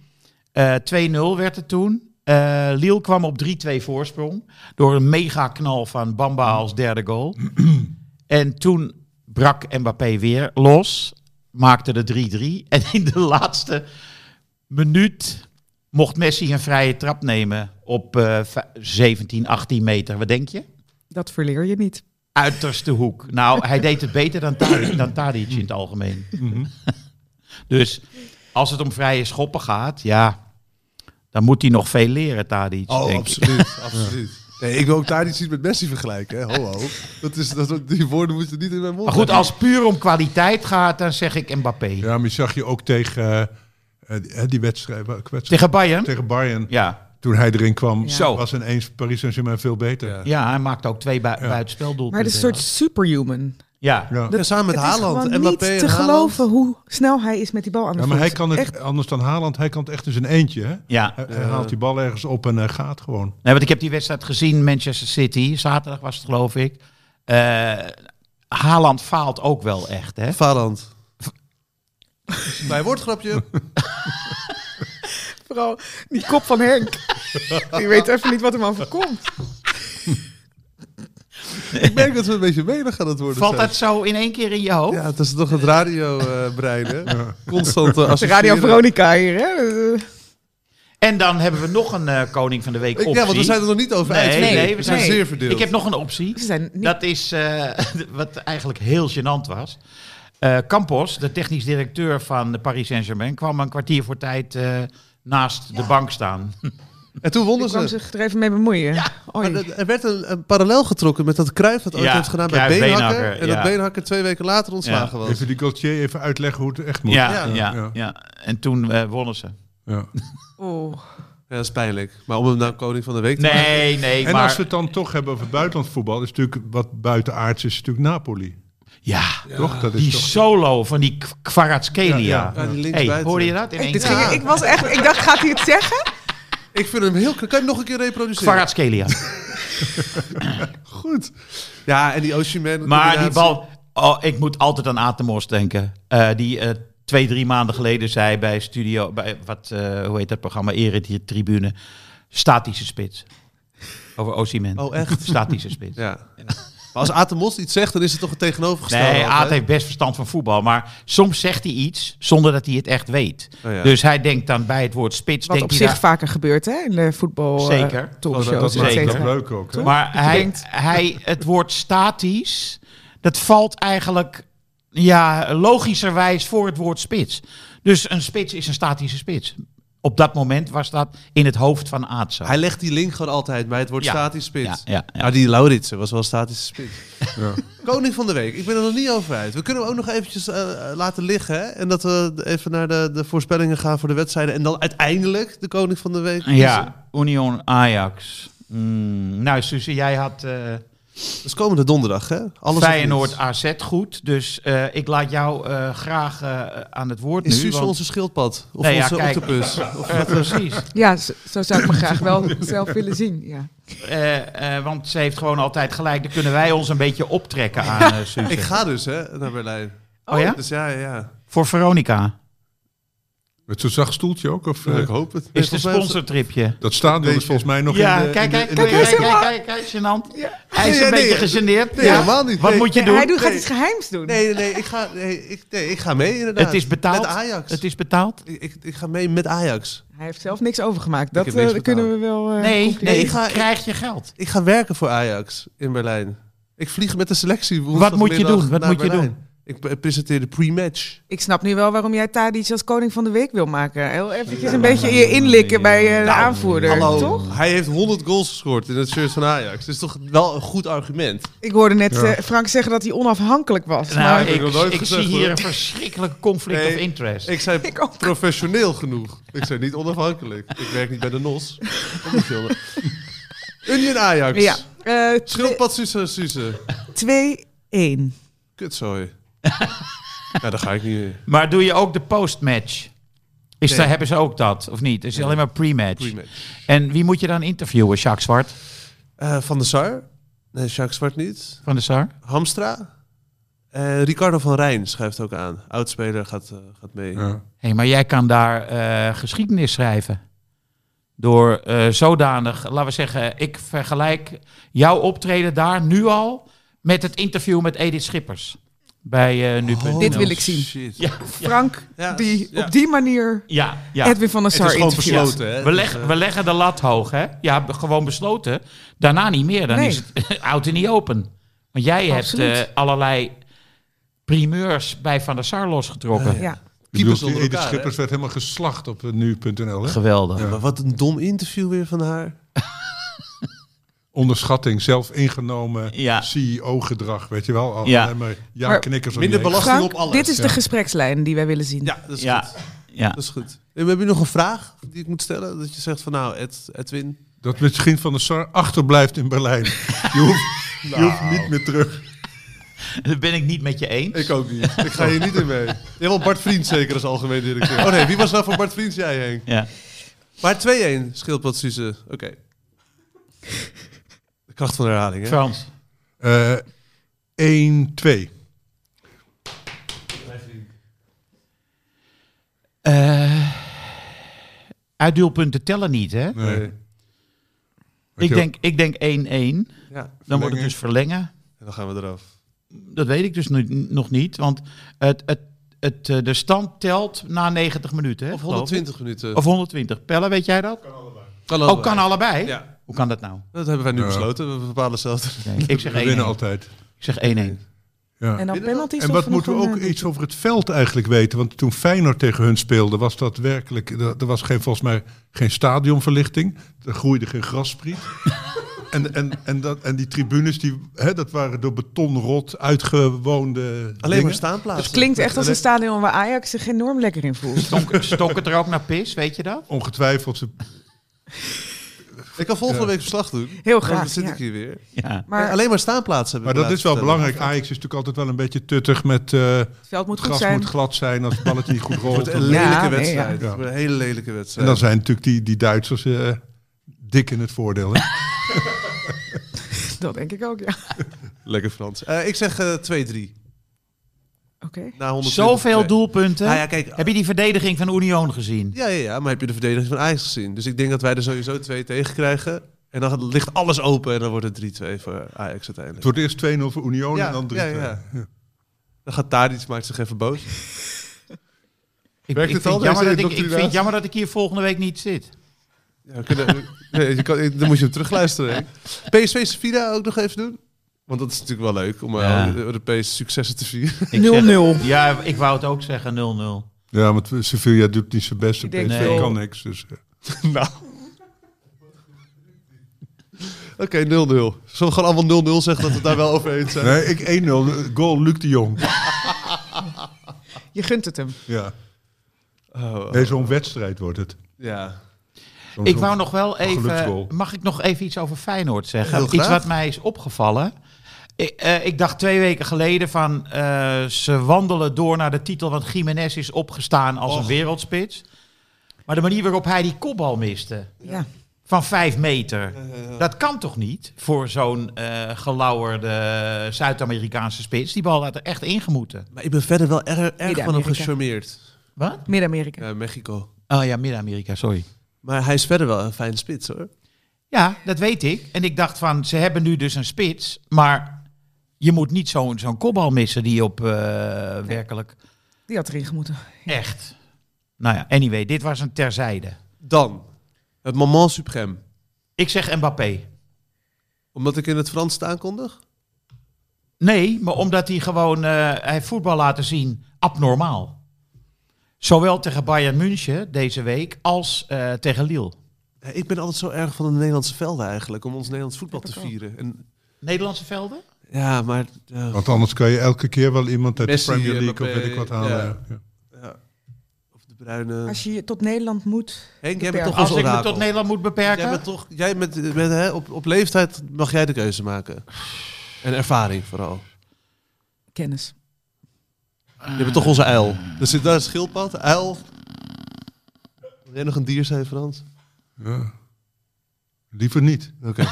[SPEAKER 4] Eh, 2-0 werd het toen. Eh Liel kwam op 3-2 voorsprong. Door een mega knal van Bamba als derde goal. en toen brak Mbappé weer los. Maakte de 3-3. *laughs* En in de laatste minuut mocht Messi een vrije trap nemen op eh, va- 17, 18 meter. Wat denk je?
[SPEAKER 1] Dat verleer je niet.
[SPEAKER 4] Uiterste hoek. Nou, hij deed het beter dan Tadic, dan Tadic in het algemeen. *laughs* dus als het om vrije schoppen gaat, ja, dan moet hij nog veel leren, Tadic.
[SPEAKER 3] Oh,
[SPEAKER 4] denk ik.
[SPEAKER 5] *laughs*
[SPEAKER 3] absoluut. absoluut. Nee, ik wil ook daar niet iets met Messi vergelijken. Hè. Ho, ho. Dat is, dat, die woorden moet je niet in mijn mond
[SPEAKER 4] Maar goed,
[SPEAKER 3] leggen.
[SPEAKER 4] als het puur om kwaliteit gaat, dan zeg ik Mbappé.
[SPEAKER 5] Ja, maar je zag je ook tegen eh, eh, die- eh, die wedstrijd, welke wedstrijd?
[SPEAKER 4] Tegen Bayern?
[SPEAKER 5] tegen Bayern.
[SPEAKER 4] Ja.
[SPEAKER 5] Toen hij erin kwam,
[SPEAKER 4] Zo.
[SPEAKER 5] was ineens Paris Saint-Germain veel beter.
[SPEAKER 3] Ja.
[SPEAKER 4] ja, hij maakt ook twee bui buitenspeldoelpunten.
[SPEAKER 1] Maar het is een soort superhuman.
[SPEAKER 4] Ja.
[SPEAKER 5] Ja.
[SPEAKER 3] Ja, dus samen met
[SPEAKER 1] het is
[SPEAKER 3] Haaland.
[SPEAKER 1] gewoon
[SPEAKER 3] Mbappé
[SPEAKER 1] niet
[SPEAKER 3] en
[SPEAKER 1] te
[SPEAKER 3] Haaland.
[SPEAKER 1] geloven hoe snel hij is met die bal aan de
[SPEAKER 5] Ja, maar
[SPEAKER 1] voet.
[SPEAKER 5] hij kan het,
[SPEAKER 1] Echt,
[SPEAKER 5] anders dan Haaland, hij kan het echt in zijn eentje. Hè?
[SPEAKER 4] ja.
[SPEAKER 5] Hij, hij haalt die bal ergens op en hij gaat gewoon.
[SPEAKER 4] Nee, want ik heb die wedstrijd gezien, Manchester City. Zaterdag was het, geloof ik. Eh, Haaland faalt ook wel echt, hè?
[SPEAKER 3] Valand. Bij woordgrapje.
[SPEAKER 1] vooral die kop van Henk. Je weet even niet wat hem overkomt.
[SPEAKER 3] Ik merk dat we een beetje menig aan het worden
[SPEAKER 4] Valt
[SPEAKER 3] zijn.
[SPEAKER 4] dat zo in één keer in je hoofd?
[SPEAKER 3] Ja, het is toch het radiobrein, hè? Constant eh,
[SPEAKER 1] De
[SPEAKER 3] associëren.
[SPEAKER 1] Radio Veronica hier, hè? Eh,
[SPEAKER 4] En dan hebben we nog een eh, Koning van de Week
[SPEAKER 3] Ik,
[SPEAKER 4] optie.
[SPEAKER 3] ja, want we zijn er nog niet over uit.
[SPEAKER 4] nee, nee, we zijn
[SPEAKER 3] zeer verdeeld.
[SPEAKER 4] Ik heb nog een optie.
[SPEAKER 1] Ze zijn niet...
[SPEAKER 4] Dat is eh, *laughs* wat eigenlijk heel gênant was. Eh, Campos, de technisch directeur van de Paris Saint-Germain, kwam een kwartier voor tijd eh, naast de bank staan.
[SPEAKER 3] En toen
[SPEAKER 1] Die
[SPEAKER 3] wonnen
[SPEAKER 1] kwam
[SPEAKER 3] ze.
[SPEAKER 1] zich er even mee bemoeien. Oei.
[SPEAKER 3] Maar Er werd een, een parallel getrokken met dat Cruijff dat ooit
[SPEAKER 4] Ja,
[SPEAKER 3] heeft gedaan bij
[SPEAKER 4] Cruijff,
[SPEAKER 3] Beenhakker.
[SPEAKER 4] Beenhakker,
[SPEAKER 3] En
[SPEAKER 4] ja.
[SPEAKER 3] dat Beenhakker twee weken later ontslagen was.
[SPEAKER 5] Even die Gaultier even uitleggen hoe het echt moet.
[SPEAKER 4] Ja, ja, ja,
[SPEAKER 5] ja, ja.
[SPEAKER 4] En toen eh, wonnen ze.
[SPEAKER 5] Ja.
[SPEAKER 1] Oeh.
[SPEAKER 3] Ja, dat is pijnlijk. Maar om hem nou koning van de week te maken...
[SPEAKER 4] Nee, nee,
[SPEAKER 5] En
[SPEAKER 4] maar...
[SPEAKER 5] als we het dan toch hebben over buitenlandvoetbal, is natuurlijk wat buitenaards is natuurlijk Napoli.
[SPEAKER 4] Ja,
[SPEAKER 5] toch? Dat is
[SPEAKER 4] die
[SPEAKER 5] Dus toch...
[SPEAKER 4] solo van die K- Kvaratskhelia.
[SPEAKER 5] Ja,
[SPEAKER 3] Ja, die
[SPEAKER 4] Hey,
[SPEAKER 3] linksbuiten.
[SPEAKER 4] hoorde je dat? In één
[SPEAKER 1] Dit
[SPEAKER 4] keer?
[SPEAKER 1] ging- ik, was echt, ik dacht, gaat hij het zeggen?
[SPEAKER 3] Ik vind hem heel... Kan je hem nog een keer reproduceren?
[SPEAKER 4] Kvaratskhelia.
[SPEAKER 3] Goed. Ja, en die Osimhen.
[SPEAKER 4] Maar die
[SPEAKER 3] combinatie.
[SPEAKER 4] bal... Oh, ik moet altijd aan Atemos denken. Eh, die eh, twee, drie maanden geleden zei bij Studio... Bij, wat, eh, hoe heet dat programma? Eredie Tribune. Statische spits. Over Osimhen.
[SPEAKER 3] Oh, echt?
[SPEAKER 4] *laughs* Statische spits.
[SPEAKER 3] Ja. Maar als Atemos iets zegt, dan is het toch het tegenovergestelde.
[SPEAKER 4] Nee,
[SPEAKER 3] altijd?
[SPEAKER 4] Aad heeft best verstand van voetbal. Maar soms zegt hij iets zonder dat hij het echt weet.
[SPEAKER 3] Oh ja.
[SPEAKER 4] Dus hij denkt dan bij het woord spits...
[SPEAKER 1] Wat
[SPEAKER 4] denkt
[SPEAKER 1] op
[SPEAKER 4] hij
[SPEAKER 1] zich
[SPEAKER 4] daar-
[SPEAKER 1] vaker gebeurt, hè? In de voetbal eh,
[SPEAKER 4] Zeker.
[SPEAKER 1] talkshows,
[SPEAKER 5] dat, dat
[SPEAKER 1] et
[SPEAKER 5] maakt het
[SPEAKER 1] cetera.
[SPEAKER 4] Zeker.
[SPEAKER 5] leuk ook. Hè?
[SPEAKER 4] Maar
[SPEAKER 1] Je
[SPEAKER 4] hij,
[SPEAKER 1] denkt-
[SPEAKER 4] hij, het woord statisch, dat valt eigenlijk ja, logischerwijs voor het woord spits. Dus een spits is een statische spits. Op dat moment was dat in het hoofd van Aad zo.
[SPEAKER 3] Hij legt die link gewoon altijd bij het woord
[SPEAKER 4] Ja.
[SPEAKER 3] statische spits.
[SPEAKER 4] Ja, ja, ja.
[SPEAKER 3] Maar die Lauritsen was wel statische
[SPEAKER 4] *laughs*
[SPEAKER 3] spits.
[SPEAKER 5] Ja.
[SPEAKER 3] Koning van de Week. Ik ben er nog niet over uit. We kunnen hem ook nog eventjes eh, eh, laten liggen. Hè? En dat we even naar de, de voorspellingen gaan voor de wedstrijden. En dan uiteindelijk de Koning van de Week. Dus kiezen.
[SPEAKER 4] Ja, Union Ajax. Mm, nou, Suze, jij had eh
[SPEAKER 3] Dat is komende donderdag, hè? Alles of
[SPEAKER 4] Feyenoord
[SPEAKER 3] niets.
[SPEAKER 4] AZ goed. Dus eh, ik laat jou eh, graag eh, aan het woord
[SPEAKER 3] Is
[SPEAKER 4] nu.
[SPEAKER 3] Suus
[SPEAKER 4] want-
[SPEAKER 3] onze schildpad? Of
[SPEAKER 4] Nee, ja,
[SPEAKER 3] onze
[SPEAKER 4] kijk. *laughs*
[SPEAKER 3] octopus? *laughs* Of
[SPEAKER 4] Eh, precies.
[SPEAKER 1] Ja, zo, zo zou ik me graag wel zelf willen zien. Ja.
[SPEAKER 4] Eh, eh, want ze heeft gewoon altijd gelijk. Dan kunnen wij ons een beetje optrekken aan eh Suze.
[SPEAKER 3] ik ga dus, hè, naar Berlijn.
[SPEAKER 4] Oh ja?
[SPEAKER 3] Dus ja, ja, ja.
[SPEAKER 4] Voor Veronica.
[SPEAKER 5] Met zo'n zacht stoeltje ook? Of, eh,
[SPEAKER 3] ik hoop het.
[SPEAKER 4] Is de
[SPEAKER 3] Volgens mij was-
[SPEAKER 4] sponsortripje.
[SPEAKER 5] dat stadion is volgens mij nog
[SPEAKER 4] Ja,
[SPEAKER 5] in de...
[SPEAKER 4] kijk,
[SPEAKER 5] in de-
[SPEAKER 4] kijk,
[SPEAKER 5] in de-
[SPEAKER 4] kijk, kijk, kijk, kijk, kijk, gênant.
[SPEAKER 1] Ja.
[SPEAKER 4] Hij is
[SPEAKER 3] Nee,
[SPEAKER 4] een
[SPEAKER 3] nee,
[SPEAKER 4] beetje gegeneerd.
[SPEAKER 3] Nee,
[SPEAKER 4] Ja.
[SPEAKER 3] helemaal niet.
[SPEAKER 4] Wat
[SPEAKER 3] Nee.
[SPEAKER 4] moet je
[SPEAKER 1] hij
[SPEAKER 4] doen?
[SPEAKER 1] doet, gaat iets geheims doen.
[SPEAKER 3] Nee, nee, ik ga, nee, ik, nee, ik ga mee inderdaad.
[SPEAKER 4] Het is betaald.
[SPEAKER 3] Met Ajax.
[SPEAKER 4] Het is betaald.
[SPEAKER 3] Ik, ik, ik ga mee met Ajax.
[SPEAKER 1] Hij heeft zelf niks overgemaakt. Dat
[SPEAKER 3] heb niks
[SPEAKER 1] eh,
[SPEAKER 3] betaald.
[SPEAKER 1] kunnen we wel... eh,
[SPEAKER 4] Nee,
[SPEAKER 1] concluderen.
[SPEAKER 4] nee,
[SPEAKER 3] ik ga-
[SPEAKER 4] krijg je geld.
[SPEAKER 3] Ik ga werken voor Ajax in Berlijn. Ik vlieg met de selectie.
[SPEAKER 4] moet je doen? Wat moet je
[SPEAKER 3] doen? Ik pre- presenteer de pre-match.
[SPEAKER 1] Ik snap nu wel waarom jij Tadic als koning van de week wil maken. Heel eventjes een beetje je inlikken bij eh, de aanvoerder, toch?
[SPEAKER 3] Hij heeft 100 goals gescoord in het shirt van Ajax. Dat is toch wel een goed argument.
[SPEAKER 1] Ik hoorde net
[SPEAKER 5] Ja.
[SPEAKER 1] eh, Frank zeggen dat hij onafhankelijk was.
[SPEAKER 4] Nou,
[SPEAKER 1] maar
[SPEAKER 3] heb ik nog
[SPEAKER 4] ik,
[SPEAKER 3] nooit
[SPEAKER 4] ik
[SPEAKER 3] gezegd,
[SPEAKER 4] zie hier
[SPEAKER 3] hoor.
[SPEAKER 4] een verschrikkelijke conflict
[SPEAKER 3] Nee,
[SPEAKER 4] of interest.
[SPEAKER 3] Ik zei
[SPEAKER 1] *laughs* Ik ook.
[SPEAKER 3] professioneel genoeg. Ik zei niet onafhankelijk. Ik werk niet bij de NOS. Kom op, jongen. Union Ajax.
[SPEAKER 1] ja. Eh,
[SPEAKER 3] Schildpad Suze Suze.
[SPEAKER 1] 2-1. *laughs*
[SPEAKER 3] Kutzooi. ja, daar ga ik niet meer.
[SPEAKER 4] Maar doe je ook de postmatch? Is
[SPEAKER 3] Nee.
[SPEAKER 4] daar, hebben ze ook dat, of niet? Het is alleen maar pre-match.
[SPEAKER 3] Pre-match.
[SPEAKER 4] en wie moet je dan interviewen, Jacques Zwart?
[SPEAKER 3] Eh, van de Sar. Nee, Jacques Zwart niet.
[SPEAKER 4] Van de Sar?
[SPEAKER 3] Hamstra. Eh, Ricardo van Rijn schuift ook aan. Oudspeler gaat, eh, gaat mee.
[SPEAKER 5] Ja.
[SPEAKER 4] Hé, maar jij kan daar eh, geschiedenis schrijven. Door eh, zodanig, laten we zeggen, ik vergelijk jouw optreden daar nu al met het interview met Edith Schippers. Bij eh nu.
[SPEAKER 1] Dit wil ik zien.
[SPEAKER 3] Oh, nou, Shit.
[SPEAKER 4] Ja,
[SPEAKER 1] Frank,
[SPEAKER 3] Ja,
[SPEAKER 1] die
[SPEAKER 3] ja.
[SPEAKER 1] op die manier
[SPEAKER 4] ja, ja.
[SPEAKER 1] Edwin van der
[SPEAKER 3] Het is
[SPEAKER 1] Sar
[SPEAKER 3] gewoon
[SPEAKER 1] interviewt.
[SPEAKER 3] besloten, hè? Dus, eh,
[SPEAKER 4] We, leggen- we leggen de lat hoog, hè? Ja, be- gewoon besloten. Daarna niet meer. Dan
[SPEAKER 1] Nee.
[SPEAKER 4] is het *laughs* out en niet open. Want jij
[SPEAKER 1] Absoluut.
[SPEAKER 4] hebt eh, allerlei primeurs bij Van der Sar losgetrokken.
[SPEAKER 3] Ja.
[SPEAKER 1] Ja.
[SPEAKER 5] Ik
[SPEAKER 3] Keepers
[SPEAKER 5] bedoel,
[SPEAKER 3] onder
[SPEAKER 5] Edith
[SPEAKER 3] elkaar,
[SPEAKER 5] Schippers werd helemaal geslacht op eh, nu.nl. hè?
[SPEAKER 4] Geweldig.
[SPEAKER 3] hè? Ja, maar wat een dom interview weer van haar.
[SPEAKER 5] Onderschatting, zelf ingenomen
[SPEAKER 4] Ja.
[SPEAKER 5] CEO-gedrag, weet je wel. Al,
[SPEAKER 4] Ja.
[SPEAKER 5] alleen maar ja
[SPEAKER 1] Maar
[SPEAKER 5] knikkers om
[SPEAKER 3] minder
[SPEAKER 5] je heen.
[SPEAKER 3] belasting
[SPEAKER 1] Frank,
[SPEAKER 3] op alles.
[SPEAKER 1] dit is
[SPEAKER 5] Ja.
[SPEAKER 1] de gesprekslijn die wij willen zien.
[SPEAKER 3] Ja, dat is
[SPEAKER 4] Ja.
[SPEAKER 3] goed.
[SPEAKER 4] Ja.
[SPEAKER 1] *laughs*
[SPEAKER 3] Dat is goed. En heb je nog een vraag die ik moet stellen? Dat je zegt van nou, Ed, Edwin.
[SPEAKER 5] Dat misschien Van der Sar achterblijft in
[SPEAKER 1] *laughs*
[SPEAKER 5] Berlijn. Je hoeft, je hoeft
[SPEAKER 1] Nou.
[SPEAKER 5] niet meer terug.
[SPEAKER 4] Dat ben ik niet met je eens.
[SPEAKER 3] Ik ook niet. Ik ga hier niet in mee. Je wil Bart Vriend zeker als algemeen directeur. Oh nee, wie was nou voor Bart Vriend? Jij, Henk.
[SPEAKER 4] Ja.
[SPEAKER 3] Maar 2-1, schildpad Suze. Oké. De kracht van de herhaling, hè?
[SPEAKER 4] Frans.
[SPEAKER 5] Eh 1, 2.
[SPEAKER 4] Eh uitdeelpunten tellen niet, hè?
[SPEAKER 5] Nee.
[SPEAKER 3] Nee.
[SPEAKER 4] Ik denk, ik denk 1-1. Dan
[SPEAKER 3] Ja,
[SPEAKER 4] wordt het dus verlengen.
[SPEAKER 3] en dan gaan we eraf.
[SPEAKER 4] Dat weet ik dus nu, nog niet. Want het, het, het, eh, de stand telt na 90 minuten. Hè,
[SPEAKER 3] Of
[SPEAKER 4] geloof ik?
[SPEAKER 3] 120 minuten.
[SPEAKER 4] Of 120. Pellen, weet jij dat?
[SPEAKER 3] kan
[SPEAKER 4] oh, kan allebei?
[SPEAKER 3] Ja,
[SPEAKER 4] Hoe kan dat nou?
[SPEAKER 3] dat hebben wij nu
[SPEAKER 5] Ja.
[SPEAKER 3] besloten. We bepalen zelf. *laughs*
[SPEAKER 4] Nee, ik
[SPEAKER 5] We
[SPEAKER 4] zeg 1-1.
[SPEAKER 5] winnen altijd.
[SPEAKER 4] Ik zeg 1-1.
[SPEAKER 5] Ja.
[SPEAKER 1] En dan penalties
[SPEAKER 5] En
[SPEAKER 1] of
[SPEAKER 5] wat
[SPEAKER 1] nog
[SPEAKER 5] moeten we
[SPEAKER 1] een,
[SPEAKER 5] ook
[SPEAKER 1] eh,
[SPEAKER 5] iets over het veld eigenlijk weten? Want toen Feyenoord tegen hun speelde, was dat werkelijk... Er er was geen, volgens mij geen stadionverlichting. Er groeide geen grasspriet.
[SPEAKER 1] *laughs*
[SPEAKER 5] en, en, en, dat, en die tribunes, die, hè, dat waren door betonrot uitgewoonde
[SPEAKER 3] Alleen maar
[SPEAKER 5] dingen.
[SPEAKER 3] staanplaatsen.
[SPEAKER 1] Het klinkt echt als een stadion waar Ajax zich enorm lekker in voelt.
[SPEAKER 4] Stonk, stonk het er ook naar pis, weet je dat?
[SPEAKER 5] Ongetwijfeld. Ze,
[SPEAKER 3] Ik kan volgende
[SPEAKER 5] Ja.
[SPEAKER 3] week verslag doen.
[SPEAKER 1] Heel
[SPEAKER 3] Dan
[SPEAKER 1] graag.
[SPEAKER 3] zit
[SPEAKER 1] ja.
[SPEAKER 3] ik hier weer.
[SPEAKER 4] Ja.
[SPEAKER 1] Maar
[SPEAKER 3] Alleen maar staanplaatsen
[SPEAKER 5] maar
[SPEAKER 3] hebben we
[SPEAKER 5] dat is wel
[SPEAKER 3] laten
[SPEAKER 5] belangrijk. Ajax is natuurlijk altijd wel een beetje tuttig met... eh,
[SPEAKER 1] het veld moet
[SPEAKER 5] het
[SPEAKER 1] goed
[SPEAKER 5] gras
[SPEAKER 1] zijn.
[SPEAKER 5] moet glad zijn als het balletje
[SPEAKER 3] *laughs*
[SPEAKER 5] niet goed
[SPEAKER 3] vertellen.
[SPEAKER 5] rolt.
[SPEAKER 3] Het wordt een
[SPEAKER 5] En-
[SPEAKER 1] Ja,
[SPEAKER 3] lelijke
[SPEAKER 1] nee,
[SPEAKER 3] wedstrijd.
[SPEAKER 5] ja.
[SPEAKER 3] Het wordt Een hele lelijke
[SPEAKER 5] En
[SPEAKER 3] wedstrijd.
[SPEAKER 5] dan zijn natuurlijk die, die Duitsers eh, dik in het voordeel. Hè?
[SPEAKER 1] *laughs* Dat denk ik ook, ja.
[SPEAKER 3] Lekker Frans. Eh, ik zeg eh, 2-3.
[SPEAKER 1] Oké.
[SPEAKER 3] Na 120.
[SPEAKER 4] Zoveel
[SPEAKER 3] Nee.
[SPEAKER 4] doelpunten.
[SPEAKER 3] Nou ja, kijk.
[SPEAKER 4] Heb je die verdediging van Union gezien?
[SPEAKER 3] Ja, ja, ja, maar heb je de verdediging van Ajax gezien? Dus ik denk dat wij er sowieso twee tegen krijgen. En dan ligt alles open en dan wordt het 3-2 voor Ajax
[SPEAKER 5] Het
[SPEAKER 3] uiteindelijk.
[SPEAKER 5] wordt eerst 2-0 voor Union
[SPEAKER 3] Ja,
[SPEAKER 5] en dan 3-2.
[SPEAKER 3] ja, ja. Dan gaat Tadic, maakt zich even boos.
[SPEAKER 4] Ik,
[SPEAKER 5] Werkt
[SPEAKER 4] ik
[SPEAKER 5] het
[SPEAKER 4] vind jammer
[SPEAKER 5] al, deze
[SPEAKER 4] dat ik, ik
[SPEAKER 5] indoctrinatie?
[SPEAKER 4] vind jammer dat ik hier volgende week niet zit.
[SPEAKER 3] Ja, we kunnen, nee, je kan, dan moet je hem terugluisteren. Henk. PSV Sevilla ook nog even doen. Want dat is natuurlijk wel leuk om eh,
[SPEAKER 4] Ja.
[SPEAKER 3] al die Europese successen te vieren. *laughs*
[SPEAKER 4] Ik zeg-
[SPEAKER 1] 0-0.
[SPEAKER 4] Ja, ik wou het ook zeggen 0-0.
[SPEAKER 5] Ja, want Sevilla doet niet zijn best. en
[SPEAKER 1] Ik denk
[SPEAKER 5] PSV
[SPEAKER 4] wel-
[SPEAKER 5] kan niks. Dus, eh.
[SPEAKER 3] Oké, 0-0. Zullen we gewoon allemaal 0-0 zeggen dat we het daar wel over eens zijn?
[SPEAKER 5] nee, ik 1-0. Goal Luc de Jong.
[SPEAKER 1] Je gunt het hem.
[SPEAKER 5] Ja.
[SPEAKER 3] Oh,
[SPEAKER 5] Nee, zo'n wedstrijd wordt het.
[SPEAKER 3] ja.
[SPEAKER 5] Zo'n-
[SPEAKER 4] Ik
[SPEAKER 5] zo'n-
[SPEAKER 4] wou nog wel even.
[SPEAKER 5] geluksgoal.
[SPEAKER 4] Mag ik nog even iets over Feyenoord
[SPEAKER 3] Heel
[SPEAKER 4] zeggen?
[SPEAKER 3] graag.
[SPEAKER 4] Iets wat mij is opgevallen. Ik, eh, ik dacht twee weken geleden van eh, ze wandelen door naar de titel, want Jiménez is opgestaan als een wereldspits. Maar de manier waarop hij die kopbal miste,
[SPEAKER 1] Ja.
[SPEAKER 4] van vijf meter,
[SPEAKER 3] Eh,
[SPEAKER 4] dat kan toch niet voor zo'n eh gelauwerde Zuid-Amerikaanse spits? Die bal had er echt ingemoeten.
[SPEAKER 3] Maar ik ben verder wel erg, erg van hem
[SPEAKER 1] Midden-Amerika.
[SPEAKER 3] gecharmeerd.
[SPEAKER 4] Wat?
[SPEAKER 1] Midden-Amerika.
[SPEAKER 3] Ja, Mexico.
[SPEAKER 4] Oh ja, Midden-Amerika, sorry.
[SPEAKER 3] Maar hij is verder wel een fijne spits hoor.
[SPEAKER 4] Ja, dat weet ik. En ik dacht van, ze hebben nu dus een spits, maar je moet niet zo'n zo'n kopbal missen die op eh, werkelijk
[SPEAKER 1] Die had erin gemoeten.
[SPEAKER 4] echt. Nou ja, anyway, dit was een terzijde.
[SPEAKER 3] Dan, het moment suprême.
[SPEAKER 4] Ik zeg Mbappé.
[SPEAKER 3] Omdat ik in het Frans het aankondig?
[SPEAKER 4] Nee, maar omdat hij gewoon eh, hij voetbal laten zien abnormaal. Zowel tegen Bayern München deze week als eh, tegen Lille.
[SPEAKER 3] Ja, ik ben altijd zo erg van de Nederlandse velden eigenlijk. Om ons Nederlands voetbal te
[SPEAKER 1] ik ook.
[SPEAKER 3] vieren. En,
[SPEAKER 4] Nederlandse velden?
[SPEAKER 3] ja, maar... eh,
[SPEAKER 5] Want anders kan je elke keer wel iemand uit
[SPEAKER 3] Messi,
[SPEAKER 5] de Premier
[SPEAKER 3] eh,
[SPEAKER 5] League of
[SPEAKER 3] Mbappé,
[SPEAKER 5] weet ik wat halen.
[SPEAKER 3] ja.
[SPEAKER 5] ja. Ja.
[SPEAKER 3] ja. Of de bruine...
[SPEAKER 1] Als je je tot Nederland moet...
[SPEAKER 3] Henk, jij bent toch
[SPEAKER 1] beperkt.
[SPEAKER 4] Als
[SPEAKER 3] ons
[SPEAKER 4] ik me
[SPEAKER 3] orakel.
[SPEAKER 4] tot Nederland moet
[SPEAKER 3] Jij
[SPEAKER 4] beperken?
[SPEAKER 3] bent toch... Jij met, met, hè, op, op leeftijd mag jij de keuze maken. En ervaring vooral.
[SPEAKER 1] Kennis.
[SPEAKER 3] Je hebt toch onze uil. Er zit daar een schildpad, uil. Wil jij nog een dier zijn, Frans?
[SPEAKER 5] Ja. Liever niet.
[SPEAKER 3] Oké.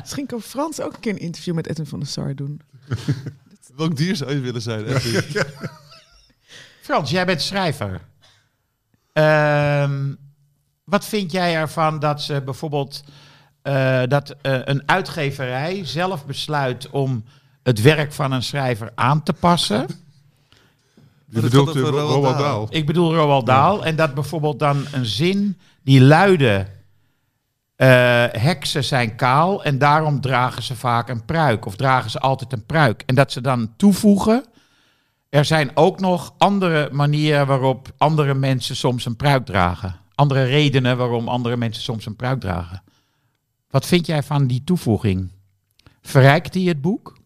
[SPEAKER 1] Misschien kan Frans ook een keer een interview met Edwin van der Sar doen.
[SPEAKER 3] Welk dier zou je willen *laughs* zijn? Edwin?
[SPEAKER 4] Frans, jij bent schrijver. Ehm, wat vind jij ervan dat ze bijvoorbeeld eh, dat eh, een uitgeverij zelf besluit om het werk van een schrijver aan te passen?
[SPEAKER 5] Je
[SPEAKER 3] Wat is
[SPEAKER 5] bedoelt
[SPEAKER 3] dat
[SPEAKER 5] eh,
[SPEAKER 3] voor Roald
[SPEAKER 5] Roald
[SPEAKER 3] Dahl?
[SPEAKER 5] Dahl.
[SPEAKER 4] Ik bedoel Roald Dahl. En dat bijvoorbeeld dan een zin die luidde... eh, heksen zijn kaal en daarom dragen ze vaak een pruik. Of dragen ze altijd een pruik. En dat ze dan toevoegen... Er zijn ook nog andere manieren waarop andere mensen soms een pruik dragen. Andere redenen waarom andere mensen soms een pruik dragen. Wat vind jij van die toevoeging? Verrijkt die het boek?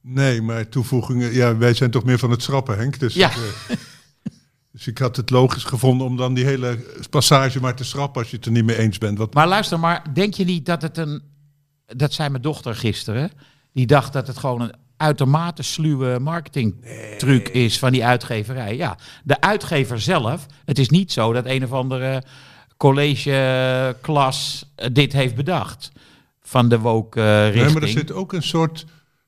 [SPEAKER 5] Nee, maar toevoegingen. Ja, wij zijn toch meer van het schrappen, Henk. Dus,
[SPEAKER 4] Ja.
[SPEAKER 5] eh, dus ik had het logisch gevonden om dan die hele passage maar te schrappen als je het er niet mee eens bent. Wat,
[SPEAKER 4] Maar luister maar, denk je niet dat het een... Dat zei mijn dochter gisteren. Die dacht dat het gewoon een uitermate sluwe marketingtruc is van die uitgeverij. Ja, de uitgever zelf. Het is niet zo dat een of andere collegeklas dit heeft bedacht. Van de woke eh, richting.
[SPEAKER 5] nee, maar er zit ook een soort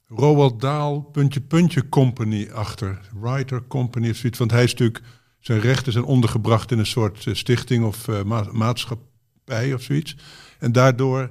[SPEAKER 5] Roald Dahl puntje puntje company achter. Writer company of zoiets. Want hij is natuurlijk... Zijn rechten zijn ondergebracht in een soort eh, stichting of eh, ma- maatschappij of zoiets. En daardoor...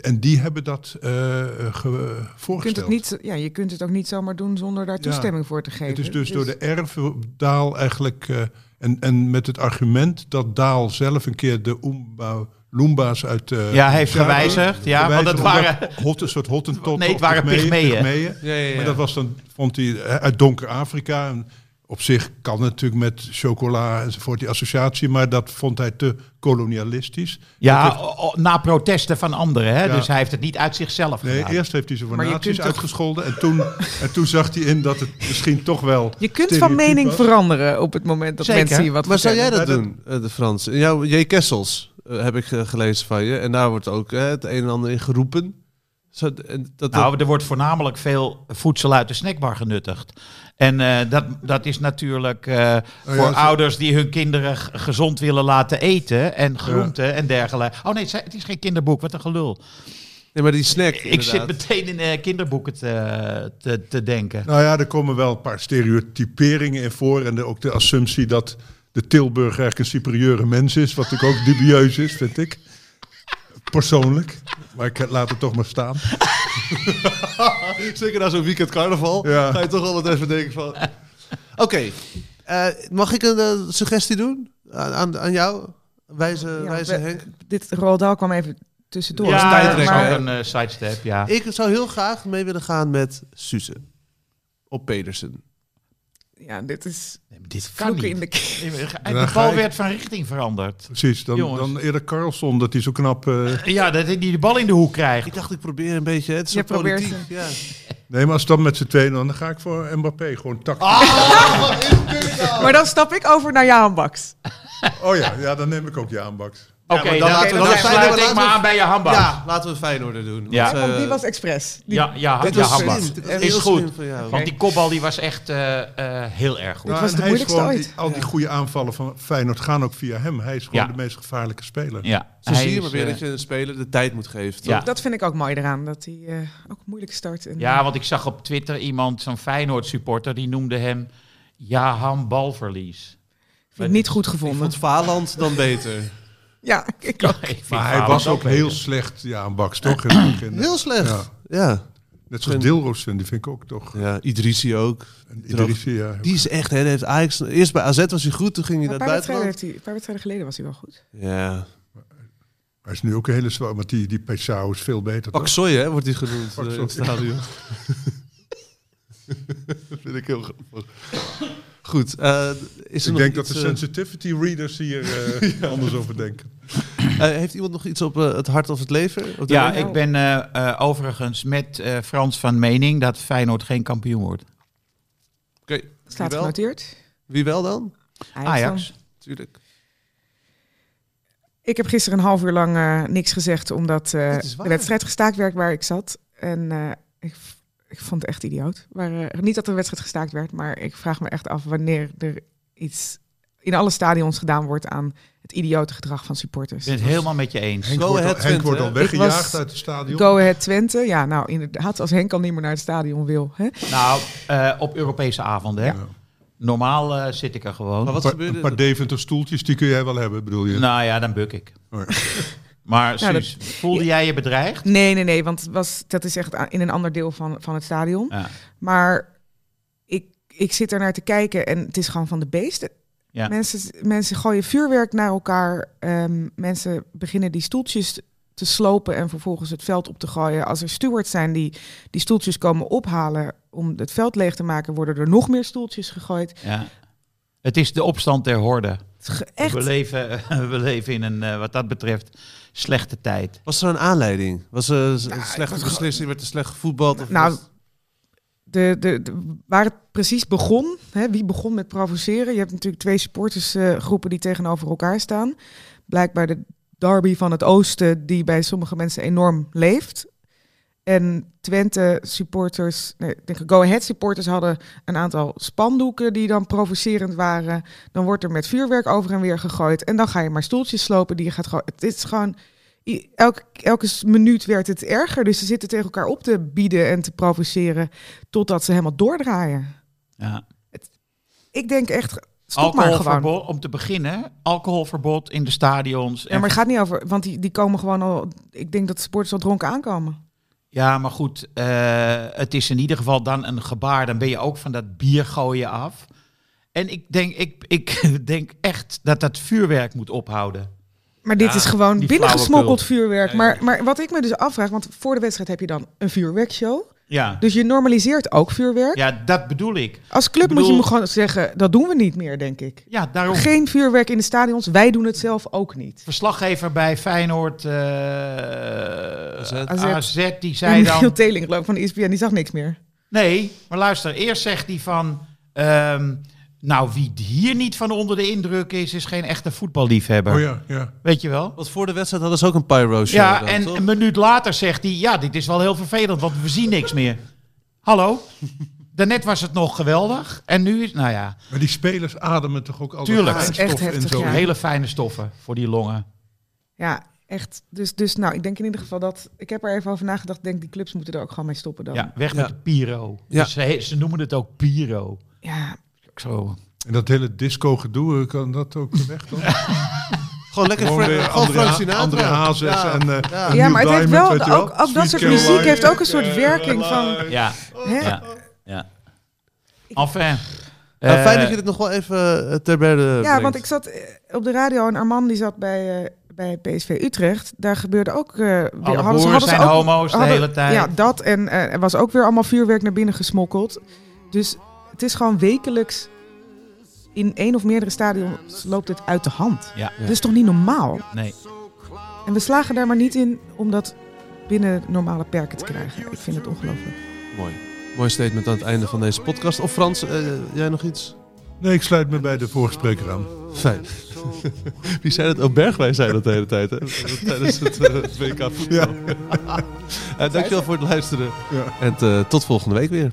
[SPEAKER 5] En die hebben dat eh, eh, ge-
[SPEAKER 1] Je kunt,
[SPEAKER 5] voorgesteld.
[SPEAKER 1] het niet, zo- ja, je kunt het ook niet zomaar doen zonder daar
[SPEAKER 5] Ja.
[SPEAKER 1] toestemming voor te geven.
[SPEAKER 5] Het is dus, door de erfdaal eigenlijk. eh, en, en met het argument dat Daal zelf een keer de Oomba, Loomba's uit. eh,
[SPEAKER 4] Ja, heeft
[SPEAKER 5] Java
[SPEAKER 4] gewijzigd. Ja, want
[SPEAKER 5] gewijzigd
[SPEAKER 4] het
[SPEAKER 5] omdat
[SPEAKER 4] waren...
[SPEAKER 5] Hot, een soort hottentot.
[SPEAKER 4] Nee, het waren Pygmeeën.
[SPEAKER 3] Ja, ja, ja.
[SPEAKER 5] Maar dat was dan, vond hij, eh, uit donker Afrika. En op zich kan het natuurlijk met chocola enzovoort die associatie. Maar dat vond hij te kolonialistisch.
[SPEAKER 4] Ja,
[SPEAKER 5] Dat heeft-
[SPEAKER 4] o- o- na protesten van anderen. Hè?
[SPEAKER 5] Ja.
[SPEAKER 4] Dus hij heeft het niet uit zichzelf
[SPEAKER 5] nee,
[SPEAKER 4] gedaan.
[SPEAKER 5] eerst heeft hij ze voor
[SPEAKER 1] Maar je
[SPEAKER 5] nazi's
[SPEAKER 1] kunt toch-
[SPEAKER 5] uitgescholden. En toen, en toen zag hij in dat het misschien toch wel...
[SPEAKER 1] Je kunt van
[SPEAKER 5] stereotyp
[SPEAKER 1] mening
[SPEAKER 5] was.
[SPEAKER 1] veranderen op het moment dat
[SPEAKER 4] Zeker.
[SPEAKER 1] mensen je wat
[SPEAKER 3] Maar zou jij
[SPEAKER 1] vertellen.
[SPEAKER 3] dat
[SPEAKER 5] Maar dat-
[SPEAKER 3] doen, eh, de Frans? In Jouw J. Kessels eh, heb ik eh, gelezen van je. En daar wordt ook eh, het een en ander in geroepen. Zou- en dat, dat-
[SPEAKER 4] Nou, er wordt voornamelijk veel voedsel uit de snackbar genuttigd. En eh, dat, dat is natuurlijk
[SPEAKER 3] Oh
[SPEAKER 4] eh, voor
[SPEAKER 5] ja, zo-
[SPEAKER 4] ouders die hun kinderen g- gezond willen laten eten. En groenten en dergelijke. Oh nee, het zijn- het is geen kinderboek. Wat een gelul.
[SPEAKER 3] nee, maar die snack.
[SPEAKER 4] Ik zit
[SPEAKER 3] inderdaad.
[SPEAKER 4] meteen in eh, kinderboeken te, te, te denken.
[SPEAKER 5] Nou ja, er komen wel een paar stereotyperingen in voor. En de- ook de assumptie dat de Tilburg eigenlijk een superieure mens is. Wat natuurlijk ook dubieus is, vind ik. Persoonlijk. Maar ik laat het toch maar staan.
[SPEAKER 3] Zeker na zo'n weekend carnaval.
[SPEAKER 5] Ja.
[SPEAKER 3] Ga je toch altijd even denken van... Oké, eh, mag ik een eh, suggestie doen? Aan, aan, aan jou? Wijze,
[SPEAKER 1] Ja,
[SPEAKER 3] wijze
[SPEAKER 1] we-
[SPEAKER 3] Henk.
[SPEAKER 1] Dit Roald Dahl kwam even tussendoor.
[SPEAKER 3] Ja,
[SPEAKER 1] Maar-
[SPEAKER 4] dat is
[SPEAKER 3] tijdrekker,
[SPEAKER 1] maar-
[SPEAKER 4] ook
[SPEAKER 3] hè?
[SPEAKER 4] een eh, sidestep, ja.
[SPEAKER 3] Ik zou heel graag mee willen gaan met Suze. Op Pedersen.
[SPEAKER 1] ja, dit is
[SPEAKER 4] Nee, maar Dit kan
[SPEAKER 1] vloeken in
[SPEAKER 4] niet.
[SPEAKER 1] de kerk.
[SPEAKER 4] En
[SPEAKER 5] Daar
[SPEAKER 4] de
[SPEAKER 5] ga
[SPEAKER 4] bal
[SPEAKER 5] ik.
[SPEAKER 4] werd van richting veranderd.
[SPEAKER 5] Precies, dan,
[SPEAKER 4] Jongens.
[SPEAKER 5] dan eerder Carlson, dat hij zo knap... eh,
[SPEAKER 4] Ja, dat hij de bal in de hoek krijgt.
[SPEAKER 3] Ik dacht, ik probeer een beetje... Het is
[SPEAKER 1] Je
[SPEAKER 3] zo
[SPEAKER 1] probeert
[SPEAKER 3] politiek. Ja.
[SPEAKER 5] Nee, maar als dan met z'n tweeën, dan ga ik voor Mbappé. Gewoon tactisch.
[SPEAKER 1] *laughs* Ah! Maar dan stap ik over naar Jaan Baks.
[SPEAKER 5] Oh ja, ja, dan neem ik ook Jaan Baks.
[SPEAKER 4] Oké,
[SPEAKER 3] maar dan
[SPEAKER 4] dan,
[SPEAKER 3] laten we-
[SPEAKER 4] dan
[SPEAKER 3] dan
[SPEAKER 4] sluit
[SPEAKER 3] laten we-
[SPEAKER 4] ik me aan bij je handbak.
[SPEAKER 3] ja, laten we Feyenoord doen.
[SPEAKER 4] Ja.
[SPEAKER 3] Want, eh,
[SPEAKER 1] Oh, die was expres. Die-
[SPEAKER 4] ja, ja,
[SPEAKER 3] dit
[SPEAKER 4] ja,
[SPEAKER 3] was
[SPEAKER 4] handbak.
[SPEAKER 3] slim. Dit was
[SPEAKER 4] Is
[SPEAKER 3] heel
[SPEAKER 4] goed.
[SPEAKER 3] slim van jou.
[SPEAKER 4] Want die kopbal die was echt eh, eh, heel erg goed.
[SPEAKER 5] Ja,
[SPEAKER 1] was
[SPEAKER 5] en
[SPEAKER 1] de
[SPEAKER 5] hij is
[SPEAKER 1] moeilijkste
[SPEAKER 5] gewoon
[SPEAKER 1] ooit.
[SPEAKER 5] die- al die goede aanvallen van Feyenoord gaan ook via hem. Hij is gewoon
[SPEAKER 4] Ja.
[SPEAKER 5] de meest gevaarlijke speler.
[SPEAKER 4] Ja,
[SPEAKER 3] Zo zie je
[SPEAKER 4] is,
[SPEAKER 3] maar weer
[SPEAKER 4] eh,
[SPEAKER 3] dat je een speler de tijd moet geven. toch?
[SPEAKER 4] Ja.
[SPEAKER 1] Dat vind ik ook mooi eraan, dat hij eh, ook moeilijk start. En,
[SPEAKER 4] eh,
[SPEAKER 1] eh,
[SPEAKER 4] ja, want ik zag op Twitter iemand, zo'n Feyenoord supporter, die noemde hem Jahan Balverlies.
[SPEAKER 1] vind ik niet goed gevonden.
[SPEAKER 3] Ik vond Valand dan beter.
[SPEAKER 1] Ja, ik
[SPEAKER 4] Ja,
[SPEAKER 1] ook.
[SPEAKER 4] ik vind
[SPEAKER 5] Maar hij
[SPEAKER 4] Haaland
[SPEAKER 5] was ook heel
[SPEAKER 4] beter.
[SPEAKER 5] slecht, Jaan Baks, toch? In het begin.
[SPEAKER 3] Heel slecht.
[SPEAKER 5] Ja.
[SPEAKER 3] Ja. ja.
[SPEAKER 5] Net zoals Dilrosun, die vind ik ook toch.
[SPEAKER 3] Idrissi ook.
[SPEAKER 5] En Idrissi, ja.
[SPEAKER 3] Die is echt, hè, die heeft Ajax, eerst bij AZ was hij goed, toen ging hij
[SPEAKER 1] Maar Een
[SPEAKER 3] naar
[SPEAKER 1] paar, wedstrijden
[SPEAKER 3] buitenland.
[SPEAKER 1] heeft hij, een paar wedstrijden geleden was hij wel goed.
[SPEAKER 3] Ja.
[SPEAKER 5] Hij is nu ook een hele zwaar, want die, die Pesau is veel beter. toch?
[SPEAKER 3] Paksoy, hè, wordt hij genoemd
[SPEAKER 5] Pak
[SPEAKER 3] eh, in
[SPEAKER 5] Soy.
[SPEAKER 3] het
[SPEAKER 5] *laughs*
[SPEAKER 3] stadion. dat vind ik heel grappig. Goed, eh, is er
[SPEAKER 5] Ik
[SPEAKER 3] nog
[SPEAKER 5] denk dat
[SPEAKER 3] iets,
[SPEAKER 5] de
[SPEAKER 3] eh,
[SPEAKER 5] sensitivity readers hier eh, anders over denken.
[SPEAKER 3] eh, heeft iemand nog iets op eh, het hart of het leven? Op de
[SPEAKER 4] Ja,
[SPEAKER 3] leven?
[SPEAKER 4] ik ben eh, eh, overigens met eh, Frans van mening dat Feyenoord geen kampioen wordt.
[SPEAKER 3] Oké, wie,
[SPEAKER 1] Staat
[SPEAKER 3] wel?
[SPEAKER 1] genoteerd.
[SPEAKER 3] wie wel dan?
[SPEAKER 1] Ajax
[SPEAKER 4] Ajax.
[SPEAKER 1] dan.
[SPEAKER 3] Tuurlijk.
[SPEAKER 1] Ik heb gisteren een half uur lang eh, niks gezegd, omdat eh,
[SPEAKER 3] Dat is waar.
[SPEAKER 1] de wedstrijd gestaakt werd waar ik zat. En eh, ik, v- ik vond het echt idioot. Maar, eh, niet dat de wedstrijd gestaakt werd, maar ik vraag me echt af wanneer er iets in alle stadions gedaan wordt aan het idiote gedrag van supporters. Dus
[SPEAKER 4] Ik ben het helemaal met je eens.
[SPEAKER 5] Henk,
[SPEAKER 3] Go
[SPEAKER 5] wordt al,
[SPEAKER 3] ahead,
[SPEAKER 5] Henk wordt al
[SPEAKER 3] Twente.
[SPEAKER 5] weggejaagd
[SPEAKER 1] Ik was-
[SPEAKER 5] uit het stadion.
[SPEAKER 1] Go Ahead Twente, ja nou inderdaad, als Henk al niet meer naar het stadion wil. Hè?
[SPEAKER 4] Nou, eh, op Europese avonden. Hè?
[SPEAKER 5] Ja.
[SPEAKER 4] Normaal eh, zit ik er gewoon.
[SPEAKER 3] Maar wat
[SPEAKER 5] Een paar-
[SPEAKER 3] gebeurde
[SPEAKER 5] een paar
[SPEAKER 3] er?
[SPEAKER 5] Deventer stoeltjes, die kun jij wel hebben, bedoel je?
[SPEAKER 4] Nou ja, dan buk ik.
[SPEAKER 5] Maar-
[SPEAKER 4] Maar
[SPEAKER 1] Nou,
[SPEAKER 4] Suus, voelde jij je bedreigd?
[SPEAKER 1] Nee, nee, nee, want het was, dat is echt a- in een ander deel van, van het stadion.
[SPEAKER 4] Ja.
[SPEAKER 1] Maar ik, ik zit er naar te kijken en het is gewoon van de beesten.
[SPEAKER 4] Ja.
[SPEAKER 1] Mensen, mensen gooien vuurwerk naar elkaar. ehm, mensen beginnen die stoeltjes te slopen en vervolgens het veld op te gooien. Als er stewards zijn die die stoeltjes komen ophalen om het veld leeg te maken, worden er nog meer stoeltjes gegooid.
[SPEAKER 4] Ja. Het is de opstand der horde.
[SPEAKER 1] Het is ge-
[SPEAKER 4] We
[SPEAKER 1] Echt.
[SPEAKER 4] leven, *laughs* we leven in een, eh, wat dat betreft, slechte tijd.
[SPEAKER 3] Was er een aanleiding? Was er een slechte beslissing? Werd er slecht gevoetbald? Of
[SPEAKER 1] Nou,
[SPEAKER 3] was-
[SPEAKER 1] De, de, de- waar het precies begon, hè, wie begon met provoceren. Je hebt natuurlijk twee supportersgroepen die tegenover elkaar staan. Blijkbaar de derby van het oosten, die bij sommige mensen enorm leeft. En Twente supporters, nee, ik denk Go Ahead supporters hadden een aantal spandoeken die dan provocerend waren. Dan wordt er met vuurwerk over en weer gegooid. En dan ga je maar stoeltjes slopen. Die je gaat gewoon, het is gewoon, i- elke, elke s- minuut werd het erger. Dus ze zitten tegen elkaar op te bieden en te provoceren totdat ze helemaal doordraaien.
[SPEAKER 4] Ja.
[SPEAKER 1] Ik denk echt, stop maar gewoon.
[SPEAKER 4] Alcoholverbod, om te beginnen, alcoholverbod in de stadions.
[SPEAKER 1] Ja, maar het gaat niet over, want die, die komen gewoon al, ik denk dat de supporters al dronken aankomen.
[SPEAKER 4] Ja, maar goed, eh, het is in ieder geval dan een gebaar. Dan ben je ook van dat bier gooien af. En ik denk, ik, ik *laughs* denk echt dat dat vuurwerk moet ophouden.
[SPEAKER 1] Maar dit
[SPEAKER 4] Ja,
[SPEAKER 1] is gewoon
[SPEAKER 4] die
[SPEAKER 1] binnengesmokkeld
[SPEAKER 4] flauwekul.
[SPEAKER 1] vuurwerk.
[SPEAKER 4] Ja, ja.
[SPEAKER 1] Maar, maar wat ik me dus afvraag, want voor de wedstrijd heb je dan een vuurwerkshow.
[SPEAKER 4] Ja,
[SPEAKER 1] Dus je normaliseert ook vuurwerk.
[SPEAKER 4] ja dat bedoel ik.
[SPEAKER 1] Als club
[SPEAKER 4] Ik bedoel-
[SPEAKER 1] moet je me gewoon zeggen, dat doen we niet meer, denk ik.
[SPEAKER 4] Ja, daarom.
[SPEAKER 1] Geen vuurwerk in de stadions, wij doen het zelf ook niet.
[SPEAKER 4] Verslaggever bij Feyenoord eh, AZ. die zei
[SPEAKER 1] En Michiel
[SPEAKER 4] dan...
[SPEAKER 1] Teling, geloof ik, van E de ESPN, die zag niks meer.
[SPEAKER 4] Nee, maar luister, eerst zegt hij van... ehm, nou, wie hier niet van onder de indruk is, is geen echte voetballiefhebber.
[SPEAKER 5] oh ja, ja.
[SPEAKER 4] Weet je wel?
[SPEAKER 3] Want voor de wedstrijd hadden ze ook een pyro show.
[SPEAKER 4] Ja,
[SPEAKER 3] dan,
[SPEAKER 4] en
[SPEAKER 3] toch?
[SPEAKER 4] een minuut later zegt hij: Ja, dit is wel heel vervelend, want we zien niks meer. Hallo? Daarnet was het nog geweldig. En nu is, nou ja,
[SPEAKER 5] Maar die spelers ademen toch ook al
[SPEAKER 4] Tuurlijk.
[SPEAKER 5] dat
[SPEAKER 4] Dat
[SPEAKER 1] is echt
[SPEAKER 5] fijnstof
[SPEAKER 1] heftig,
[SPEAKER 5] en zo.
[SPEAKER 1] ja.
[SPEAKER 4] hele fijne stoffen voor die longen.
[SPEAKER 1] Ja, echt. Dus, dus nou, ik denk in ieder geval dat... Ik heb er even over nagedacht. Ik denk, die clubs moeten er ook gewoon mee stoppen dan.
[SPEAKER 4] Ja, weg
[SPEAKER 3] Ja.
[SPEAKER 4] met de Piro.
[SPEAKER 3] Ja.
[SPEAKER 4] Dus ze, ze noemen het ook Piro.
[SPEAKER 1] Ja,
[SPEAKER 4] Ik Zo.
[SPEAKER 5] En dat hele disco gedoe, eh, kan dat ook weg
[SPEAKER 1] *laughs*
[SPEAKER 5] dan?
[SPEAKER 3] Gewoon lekker
[SPEAKER 5] Gewoon
[SPEAKER 3] Fra-
[SPEAKER 5] weer
[SPEAKER 3] gewoon
[SPEAKER 5] André,
[SPEAKER 3] Frank
[SPEAKER 5] Ha-
[SPEAKER 3] Sinatra.
[SPEAKER 5] André Hazes
[SPEAKER 3] Ja.
[SPEAKER 5] en eh,
[SPEAKER 3] Ja.
[SPEAKER 5] een
[SPEAKER 1] ja
[SPEAKER 5] Neil
[SPEAKER 1] maar het heeft
[SPEAKER 5] Diamond, weet
[SPEAKER 1] wel...
[SPEAKER 5] je wel.
[SPEAKER 1] Ook, ook dat
[SPEAKER 5] Sweet
[SPEAKER 1] soort
[SPEAKER 5] Caroline.
[SPEAKER 1] muziek heeft ook een soort werking van...
[SPEAKER 4] Ja,
[SPEAKER 1] Hè?
[SPEAKER 4] ja, ja. Enfin.
[SPEAKER 3] Nou, fijn
[SPEAKER 4] eh,
[SPEAKER 3] dat je dit nog wel even eh, ter berde
[SPEAKER 1] Ja,
[SPEAKER 3] brengt.
[SPEAKER 1] want ik zat eh, op de radio en Armand die zat bij, eh, bij PSV Utrecht. Daar gebeurde ook... eh, weer- hadden
[SPEAKER 4] Alle
[SPEAKER 1] ze-
[SPEAKER 4] boeren
[SPEAKER 1] hadden ze
[SPEAKER 4] zijn
[SPEAKER 1] ook-
[SPEAKER 4] homo's de
[SPEAKER 1] hadden-
[SPEAKER 4] hele tijd.
[SPEAKER 1] Ja, dat. En eh, er was ook weer allemaal vuurwerk naar binnen gesmokkeld. Dus het is gewoon wekelijks... In één of meerdere stadions loopt het uit de hand.
[SPEAKER 4] Ja.
[SPEAKER 1] Dat is toch niet normaal?
[SPEAKER 4] Nee.
[SPEAKER 1] En we slagen daar maar niet in om dat binnen normale perken te krijgen. Ik vind het ongelooflijk.
[SPEAKER 3] Mooi. Mooi statement aan het einde van deze podcast. Of Frans, eh, jij nog iets?
[SPEAKER 5] Nee, ik sluit me bij de voorgespreker aan.
[SPEAKER 3] Fijn. Wie zei dat? Oh, Bergwijn zei dat de hele tijd, hè? Tijdens het, eh, het WK voetbal.
[SPEAKER 5] Ja.
[SPEAKER 3] Eh, dankjewel voor het luisteren.
[SPEAKER 5] Ja.
[SPEAKER 3] En eh, tot volgende week weer.